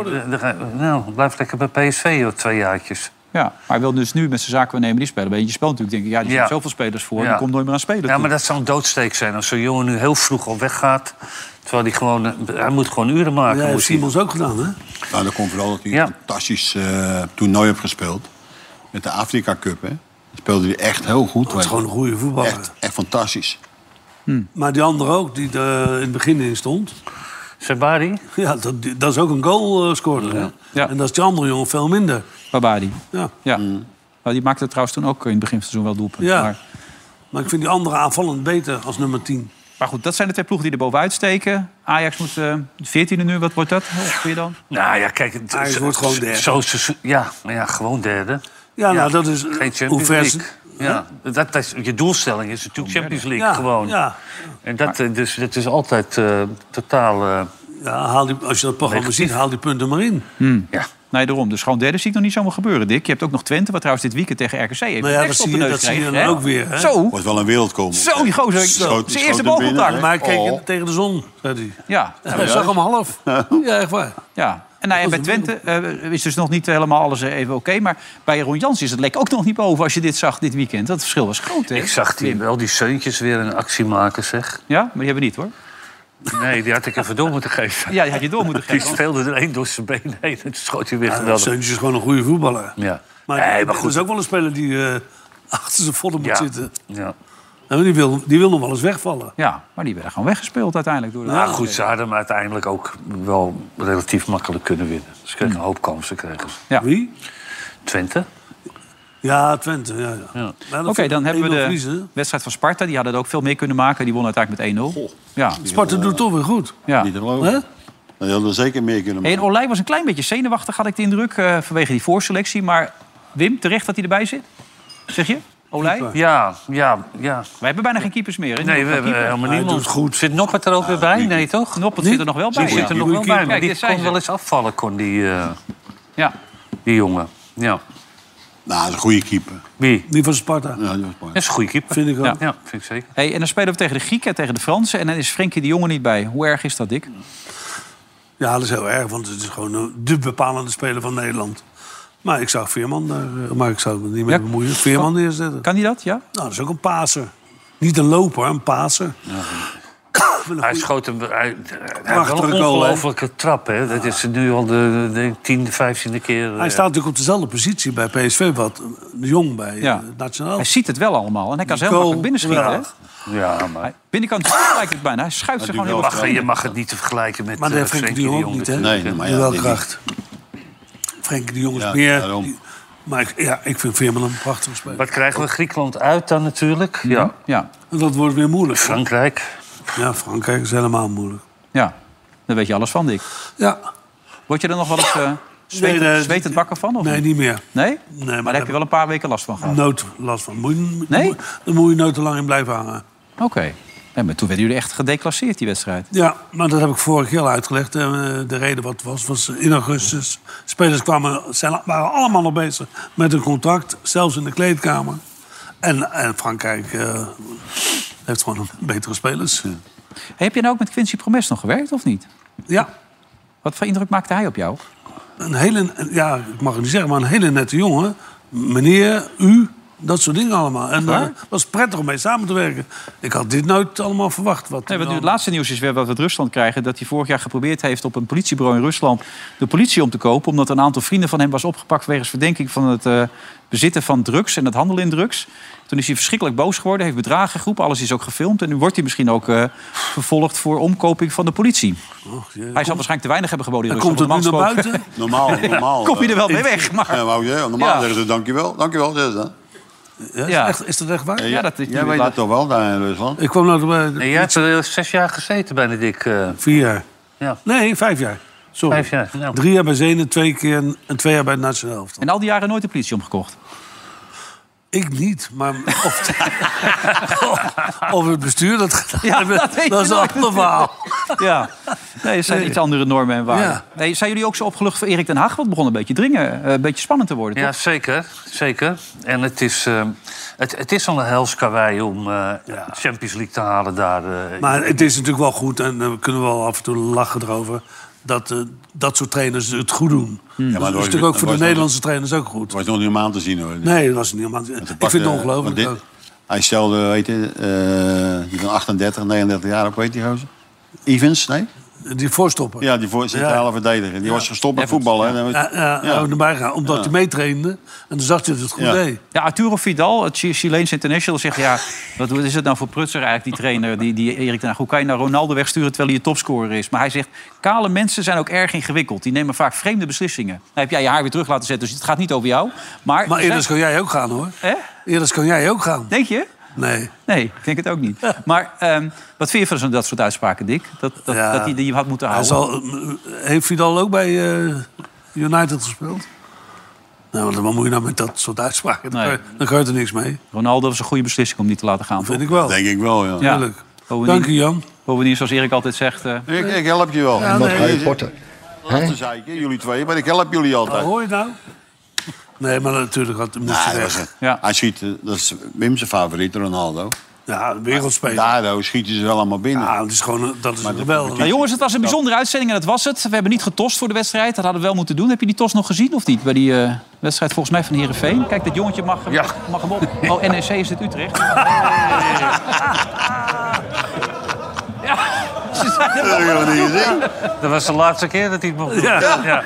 [SPEAKER 5] nou, blijf lekker bij PSV, joh, twee jaartjes.
[SPEAKER 3] Ja, maar hij wil dus nu met zijn zaakwaarnemer die spelen. Bij eentje speelt natuurlijk, denk ik, ja, die zijn
[SPEAKER 5] Ja.
[SPEAKER 3] zoveel spelers voor.
[SPEAKER 5] Ja.
[SPEAKER 3] Die komt nooit meer aan spelen.
[SPEAKER 5] Ja, maar dat zou een doodsteek zijn als zo'n jongen nu heel vroeg al weggaat. Terwijl hij gewoon... eh, Hij moet gewoon uren maken.
[SPEAKER 4] Ja, heeft
[SPEAKER 5] moet hij.
[SPEAKER 4] Simons ook gedaan, hè?
[SPEAKER 2] Nou, dat komt vooral dat hij een fantastisch eh, toernooi heeft gespeeld. Met de Afrika Cup, hè. Dat speelde hij echt heel goed. Dat
[SPEAKER 4] is gewoon een goede voetballer.
[SPEAKER 2] Echt, echt fantastisch.
[SPEAKER 4] Maar die andere ook, die er in het begin in stond.
[SPEAKER 5] Sabari?
[SPEAKER 4] Ja, dat, die- dat is ook een goal eh, scoorde. hè? En dat is die andere jongen veel minder.
[SPEAKER 3] Babadi.
[SPEAKER 4] Ja.
[SPEAKER 3] Ja. Nou, die maakte trouwens toen ook in het begin van het seizoen wel doelpunten.
[SPEAKER 4] Ja.
[SPEAKER 3] Maar,
[SPEAKER 4] Maar ik vind die andere aanvallend beter als nummer 10.
[SPEAKER 3] maar goed, dat zijn de twee ploegen die er bovenuit steken. Ajax moet eh 14e nu, wat wordt dat? Ongeveer dan?
[SPEAKER 5] Nou ja, kijk... het-
[SPEAKER 4] Ajax
[SPEAKER 5] zo-
[SPEAKER 4] wordt gewoon derde.
[SPEAKER 5] Zo, zo- ja, maar ja, gewoon derde.
[SPEAKER 4] Ja, nou, dat is, eh,
[SPEAKER 5] Geen Champions
[SPEAKER 4] hoe ver ze-
[SPEAKER 5] League. Ja, dat, dat is, je doelstelling is natuurlijk Champions League,
[SPEAKER 4] Ja,
[SPEAKER 5] gewoon.
[SPEAKER 4] ja.
[SPEAKER 5] En dat, eh, dus, dat is altijd eh, totaal... eh,
[SPEAKER 4] Ja, haal die, als je dat programma
[SPEAKER 5] Negatief.
[SPEAKER 4] ziet, haal die punten maar in. Nou
[SPEAKER 5] Ja.
[SPEAKER 3] Nee, daarom. Dus gewoon derde zie ik nog niet zomaar gebeuren, Dick. Je hebt ook nog Twente, wat trouwens dit weekend tegen RKC heeft.
[SPEAKER 4] Nou ja,
[SPEAKER 3] een
[SPEAKER 4] dat
[SPEAKER 3] tekst
[SPEAKER 4] zie
[SPEAKER 3] op de
[SPEAKER 4] je,
[SPEAKER 3] neus
[SPEAKER 4] dat zie je dan
[SPEAKER 3] gekregen, hè?
[SPEAKER 4] ook weer. Hè?
[SPEAKER 3] Zo,
[SPEAKER 2] Wordt wel een wereldkomer.
[SPEAKER 3] zo, die gozer.
[SPEAKER 2] Schoot-
[SPEAKER 3] Zijn
[SPEAKER 2] schoot
[SPEAKER 3] eerste
[SPEAKER 2] hem
[SPEAKER 3] balcontact.
[SPEAKER 2] binnen, hè?
[SPEAKER 4] Maar ik keek
[SPEAKER 2] Oh.
[SPEAKER 4] tegen de zon, zei hij.
[SPEAKER 3] Ja.
[SPEAKER 4] Ja, ik zag hem half. Ja, echt waar.
[SPEAKER 3] Ja, En nou ja, bij Twente eh, is dus nog niet helemaal alles eh, even oké. maar bij Ron Jans is het lek ook nog niet boven als je dit zag dit weekend. Dat verschil was groot, hè?
[SPEAKER 5] Ik zag die, wel die zeuntjes weer een actie maken, zeg.
[SPEAKER 3] Ja, maar die hebben we niet, hoor.
[SPEAKER 5] Nee, die had ik even door moeten geven.
[SPEAKER 3] Ja, die had je door moeten
[SPEAKER 5] Die
[SPEAKER 3] geven.
[SPEAKER 5] speelde er één door zijn been heen en toen schoot hij weer
[SPEAKER 4] Ja,
[SPEAKER 5] geweldig.
[SPEAKER 4] Seuntje is gewoon een goede voetballer.
[SPEAKER 5] Ja.
[SPEAKER 4] Maar,
[SPEAKER 5] Nee, maar
[SPEAKER 4] dat
[SPEAKER 5] goed.
[SPEAKER 4] is ook wel een speler die eh, achter zijn vodden moet
[SPEAKER 5] Ja.
[SPEAKER 4] zitten.
[SPEAKER 5] Ja.
[SPEAKER 4] En die, wil, die wil nog wel eens wegvallen.
[SPEAKER 3] Ja, maar die werden gewoon weggespeeld uiteindelijk. Door de
[SPEAKER 5] Nou goed, ze hadden hem uiteindelijk ook wel relatief makkelijk kunnen winnen. Dus Ze kregen een hoop kansen. Kregen. ze.
[SPEAKER 4] Wie?
[SPEAKER 5] Twente.
[SPEAKER 4] Ja, Twente. Ja, ja. Maar dat
[SPEAKER 3] Oké,
[SPEAKER 4] vind ik
[SPEAKER 3] dan hebben we
[SPEAKER 4] 1-0
[SPEAKER 3] de
[SPEAKER 4] verliezen.
[SPEAKER 3] wedstrijd van Sparta. Die hadden er ook veel meer kunnen maken. Die won uiteindelijk met 1-0. Ja.
[SPEAKER 4] Sparta doet toch weer goed.
[SPEAKER 3] Ja.
[SPEAKER 2] Niet te geloven. Dan hadden we zeker meer kunnen
[SPEAKER 3] Hey, en
[SPEAKER 2] maken.
[SPEAKER 3] Olij was een klein beetje zenuwachtig, had ik de indruk, eh, vanwege die voorselectie. Maar Wim, terecht dat hij erbij zit? Zeg je? Olij? Wij
[SPEAKER 5] Ja, ja, ja.
[SPEAKER 3] hebben bijna geen keepers meer. hè?
[SPEAKER 5] Nee, we
[SPEAKER 3] Niemand
[SPEAKER 5] hebben
[SPEAKER 3] kan keeper.
[SPEAKER 5] helemaal niemand. Zit Noppert er ook weer bij? Nee, toch?
[SPEAKER 3] Noppert zit er nog wel bij.
[SPEAKER 5] Die
[SPEAKER 3] ja.
[SPEAKER 5] zit er nog wel bij, maar
[SPEAKER 3] Kijk,
[SPEAKER 5] die
[SPEAKER 3] dit zijn
[SPEAKER 5] kon
[SPEAKER 3] ze.
[SPEAKER 5] wel eens afvallen, kon die, eh,
[SPEAKER 3] Ja.
[SPEAKER 5] die jongen. Ja.
[SPEAKER 2] Nou, dat is een goede keeper.
[SPEAKER 5] Wie?
[SPEAKER 4] Die van Sparta.
[SPEAKER 2] Ja, die was mooi.
[SPEAKER 5] Dat is een goede keeper.
[SPEAKER 4] Vind ik ook.
[SPEAKER 5] Ja, ja vind ik zeker.
[SPEAKER 3] Hey, en dan spelen we tegen de Grieken, tegen de Fransen. En dan is Frenkie de Jonge niet bij. Hoe erg is dat, Dick?
[SPEAKER 4] Ja, dat is heel erg, want het is gewoon eh, de bepalende speler van Nederland. Maar ik zou Veerman daar, eh, maar ik zou me niet mee
[SPEAKER 3] Ja,
[SPEAKER 4] bemoeien. Veerman neerzetten.
[SPEAKER 3] Kan hij dat? Ja?
[SPEAKER 4] Nou, dat is ook een paser. Niet een loper, een paser.
[SPEAKER 5] Hij schoot hem... Hij, hij had wel
[SPEAKER 4] Prachtige
[SPEAKER 5] een
[SPEAKER 4] goal, hè?
[SPEAKER 5] ongelofelijke trap, hè? Dat is nu al de, de tiende, vijftiende keer. eh,
[SPEAKER 4] Hij staat natuurlijk op dezelfde positie bij PSV, wat de Jong bij eh,
[SPEAKER 3] Ja.
[SPEAKER 4] Nationaal.
[SPEAKER 3] Hij ziet het wel allemaal. En hij kan
[SPEAKER 4] Die
[SPEAKER 3] zelf makkelijk
[SPEAKER 4] goal,
[SPEAKER 3] binnenschieten. hè?
[SPEAKER 4] geweldig.
[SPEAKER 5] eh, Ja, maar...
[SPEAKER 3] Hij- Binnenkant
[SPEAKER 4] Ah!
[SPEAKER 3] lijkt het bijna. Hij schuift ze
[SPEAKER 2] Maar
[SPEAKER 3] gewoon
[SPEAKER 2] die
[SPEAKER 5] Je
[SPEAKER 3] heel
[SPEAKER 5] mag,
[SPEAKER 3] erg.
[SPEAKER 5] je mag het niet te vergelijken met
[SPEAKER 4] Maar
[SPEAKER 5] eh,
[SPEAKER 4] dat heeft Frenkie de Jong ook niet, hè?
[SPEAKER 5] natuurlijk,
[SPEAKER 2] Nee, maar ja,
[SPEAKER 4] wel
[SPEAKER 2] die-
[SPEAKER 4] kracht. Frenkie de Jong is
[SPEAKER 2] Ja,
[SPEAKER 4] meer...
[SPEAKER 2] daarom.
[SPEAKER 4] Maar ik, ja, ik vind Veerman een prachtige speler.
[SPEAKER 5] Wat krijgen we Griekenland uit dan natuurlijk? Ja.
[SPEAKER 3] Ja,
[SPEAKER 4] En dat wordt weer moeilijk. hè?
[SPEAKER 5] Frankrijk.
[SPEAKER 4] Ja, Frankrijk is helemaal moeilijk.
[SPEAKER 3] ja. Daar weet je alles van, Dick.
[SPEAKER 4] Ja.
[SPEAKER 3] Word je er nog wel eens eh zweet,
[SPEAKER 4] Nee, de-
[SPEAKER 3] zweetend wakker van? Of
[SPEAKER 4] Nee,
[SPEAKER 3] niet?
[SPEAKER 4] niet meer.
[SPEAKER 3] Nee?
[SPEAKER 4] Nee,
[SPEAKER 3] Maar daar heb je wel een paar weken last van gehad.
[SPEAKER 4] Nood last van. Moet je,
[SPEAKER 3] Nee?
[SPEAKER 4] moet- dan moet je nood te lang in blijven hangen.
[SPEAKER 3] Oké. Nee, maar toen werden jullie echt gedeclasseerd, die wedstrijd.
[SPEAKER 4] Ja, maar dat heb ik vorig jaar al uitgelegd. Eh, De reden wat het was, was in augustus. Spelers kwamen, zijn, waren allemaal nog bezig met hun contract. Zelfs in de kleedkamer. En, en Frankrijk eh, heeft gewoon betere spelers.
[SPEAKER 3] Hey, heb je nou ook met Quincy Promes nog gewerkt, of niet?
[SPEAKER 4] Ja,
[SPEAKER 3] Wat voor indruk maakte hij op jou?
[SPEAKER 4] een hele, ja, ik mag het niet zeggen, maar een hele nette jongen. Meneer, u, dat soort dingen allemaal. En dat was prettig om mee samen te werken. Ik had dit nooit allemaal verwacht.
[SPEAKER 3] Nee,
[SPEAKER 4] Wat er
[SPEAKER 3] want nu
[SPEAKER 4] dan-
[SPEAKER 3] het laatste nieuws is weer wat we uit Rusland krijgen. Dat hij vorig jaar geprobeerd heeft op een politiebureau in Rusland de politie om te kopen. Omdat een aantal vrienden van hem was opgepakt wegens verdenking van het eh, bezitten van drugs en het handelen in drugs. Toen is hij verschrikkelijk boos geworden, heeft bedragen geroepen. Alles is ook gefilmd. En nu wordt hij misschien ook eh, vervolgd voor omkoping van de politie.
[SPEAKER 4] Och, jee,
[SPEAKER 3] Hij zal waarschijnlijk te weinig hebben geboden in
[SPEAKER 4] dan
[SPEAKER 3] Rusland.
[SPEAKER 4] komt het nu
[SPEAKER 3] want normaal
[SPEAKER 4] naar
[SPEAKER 3] gesproken-
[SPEAKER 4] buiten.
[SPEAKER 2] Normaal, normaal.
[SPEAKER 3] Kom je er wel
[SPEAKER 2] eh,
[SPEAKER 3] mee weg. Maar
[SPEAKER 2] Ja, wou je, normaal
[SPEAKER 3] Ja.
[SPEAKER 2] zeggen ze dankjewel, dankjewel. Zeggen ze dan.
[SPEAKER 4] Ja, is,
[SPEAKER 3] Ja.
[SPEAKER 4] Echt, is dat echt waar?
[SPEAKER 3] ja, dat is nu
[SPEAKER 2] Jij weet
[SPEAKER 3] laat-
[SPEAKER 2] dat toch wel, daar in Rusland?
[SPEAKER 4] Ik kwam nou bij
[SPEAKER 5] Nee, jij hebt er eh, zes jaar gezeten, Benedict. eh
[SPEAKER 4] vier jaar.
[SPEAKER 5] ja,
[SPEAKER 4] Nee, vijf jaar. Sorry.
[SPEAKER 5] vijf jaar. Nou,
[SPEAKER 4] Drie jaar bij Zenen, twee keer en twee jaar bij het Nationaal Elftal.
[SPEAKER 3] En al die jaren nooit de politie omgekocht.
[SPEAKER 4] Ik niet, maar of, of het bestuur dat gedaan
[SPEAKER 3] Ja,
[SPEAKER 4] hebben,
[SPEAKER 3] dat weet
[SPEAKER 4] dat
[SPEAKER 3] je
[SPEAKER 4] is een
[SPEAKER 3] nooit.
[SPEAKER 4] ander verhaal.
[SPEAKER 3] Ja, nee, het zijn iets andere normen en waarden.
[SPEAKER 4] Ja.
[SPEAKER 3] Nee, zijn jullie ook zo opgelucht voor Erik ten Hag? Want het begon een beetje dringen, eh, een beetje spannend te worden,
[SPEAKER 5] ja,
[SPEAKER 3] toch?
[SPEAKER 5] zeker. zeker. En het is, eh, het, het is al een helskawaai om eh, Champions League te halen daar. eh.
[SPEAKER 4] Maar het is natuurlijk wel goed, en daar kunnen we wel af en toe lachen erover... dat eh, dat soort trainers het goed doen. dat is
[SPEAKER 2] dat was-
[SPEAKER 4] natuurlijk ook
[SPEAKER 2] dat
[SPEAKER 4] voor de
[SPEAKER 2] was-
[SPEAKER 4] Nederlandse trainers ook goed.
[SPEAKER 2] Het was nog niet om aan te zien hoor.
[SPEAKER 4] Nee, dat was niet helemaal...
[SPEAKER 2] Ze
[SPEAKER 4] Ik
[SPEAKER 2] pakten-
[SPEAKER 4] vind het ongelooflijk.
[SPEAKER 2] want
[SPEAKER 4] ook.
[SPEAKER 2] dit- Hij stelde, weet je, eh, die van 38, 39 jaar op, weet je die gozer? Evans, nee?
[SPEAKER 4] Die voorstopper.
[SPEAKER 2] Ja, die voor centrale verdediger. Die was gestopt met voetballen. hè. Dan-
[SPEAKER 4] Ja, ja,
[SPEAKER 2] Ja.
[SPEAKER 4] ook naar buiten gaan, omdat hij meetrainde. En toen zag je dat het goed
[SPEAKER 2] Ja.
[SPEAKER 4] deed.
[SPEAKER 3] Ja, Arturo Vidal, het Chi- Chileense international, zegt... ja, wat wat is het nou voor prutser eigenlijk, die trainer, die, die Erik ten Hag? Hoe kan je nou Ronaldo wegsturen terwijl hij je topscorer is? Maar hij zegt, kale mensen zijn ook erg ingewikkeld. Die nemen vaak vreemde beslissingen. Nou heb jij je haar weer terug laten zetten, dus het gaat niet over jou. Maar,
[SPEAKER 4] Maar
[SPEAKER 3] zijn-
[SPEAKER 4] eerder kan jij ook gaan, hoor.
[SPEAKER 3] Hè?
[SPEAKER 4] Eerder kan jij ook gaan.
[SPEAKER 3] Denk je?
[SPEAKER 4] Nee.
[SPEAKER 3] Nee, ik denk het ook niet. Maar ehm, wat vind je van zo'n- dat soort uitspraken, Dick? Dat, dat,
[SPEAKER 4] Ja.
[SPEAKER 3] dat die, die je had moeten
[SPEAKER 4] Hij
[SPEAKER 3] houden?
[SPEAKER 4] zal, heeft Vidal ook bij eh, United gespeeld? Nou, want wat moet je nou met dat soort uitspraken? Dan
[SPEAKER 3] Nee.
[SPEAKER 4] kan je- Dan gebeurt er niks mee.
[SPEAKER 3] Ronaldo was een goede beslissing om niet te laten gaan.
[SPEAKER 4] Vind ik wel.
[SPEAKER 2] Denk ik wel, ja.
[SPEAKER 3] Ja.
[SPEAKER 4] Tuurlijk.
[SPEAKER 3] Bovendien-
[SPEAKER 4] Dank je, Jan.
[SPEAKER 3] Bovendien, zoals Erik altijd zegt... eh,
[SPEAKER 2] Ik, ik help je wel.
[SPEAKER 4] Ja, nee.
[SPEAKER 2] Hey, Laten zeiken, jullie twee, maar ik help jullie altijd.
[SPEAKER 4] hoor je het nou? Nee, maar natuurlijk had, moest
[SPEAKER 2] Ah,
[SPEAKER 4] hij
[SPEAKER 2] dat
[SPEAKER 4] weg.
[SPEAKER 2] was het.
[SPEAKER 3] Ja.
[SPEAKER 2] Hij ziet, eh, dat is Wim zijn favoriet, Ronaldo.
[SPEAKER 4] Ja, wereldspeler.
[SPEAKER 2] Daardoor schieten ze wel allemaal binnen.
[SPEAKER 4] Ja, dat is gewoon dat is geweldig.
[SPEAKER 3] Nou, jongens, het was een bijzondere uitzending en dat was het. We hebben niet getost voor de wedstrijd. Dat hadden we wel moeten doen. Heb je die tos nog gezien of niet? Bij die eh, wedstrijd volgens mij van Herenveen. Kijk, dat jongetje mag, hem- mag hem op. Oh, NEC is dit Utrecht. Ja, ze zijn er wel
[SPEAKER 2] Ah,
[SPEAKER 3] aan toe.
[SPEAKER 5] Dat was de laatste keer dat hij het mocht doen.
[SPEAKER 3] Ja.
[SPEAKER 5] Ja.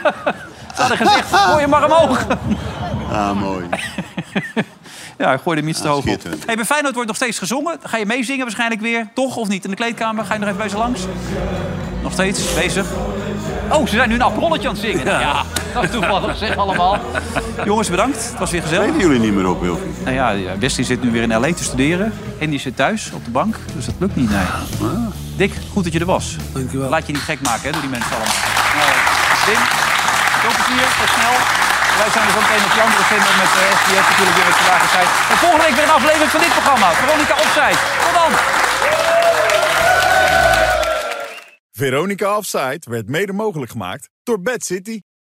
[SPEAKER 3] Ze hadden gezegd, gooi hem maar omhoog.
[SPEAKER 2] Ah, mooi.
[SPEAKER 3] Ja, gooi hem iets te hoog op. Hey, bij Feyenoord wordt nog steeds gezongen. Ga je meezingen waarschijnlijk weer, toch? Of niet? In de kleedkamer? Ga je nog even bij ze langs? Nog steeds bezig. Oh, ze zijn nu een aprolletje aan het zingen. Ja, dat is toevallig zeg allemaal. Jongens, bedankt. Het was weer gezellig.
[SPEAKER 2] Weten jullie niet meer op, Wilfried?
[SPEAKER 3] Nou ja, ja, Wesley zit nu weer in L.A. te studeren. En die zit thuis op de bank. Dus dat lukt niet, nee. Dick, goed dat je er was. Dankjewel. Laat je niet gek maken hè, door die mensen allemaal. Nou, Wim, veel plezier. Tot snel. Wij zijn er zo meteen op die andere zender met eh, de SBS natuurlijk weer met vandaag de tijd. En volgende week weer een aflevering van dit programma. Veronica Opzij. Tot dan.
[SPEAKER 1] Veronica Offside werd mede mogelijk gemaakt door Bad City.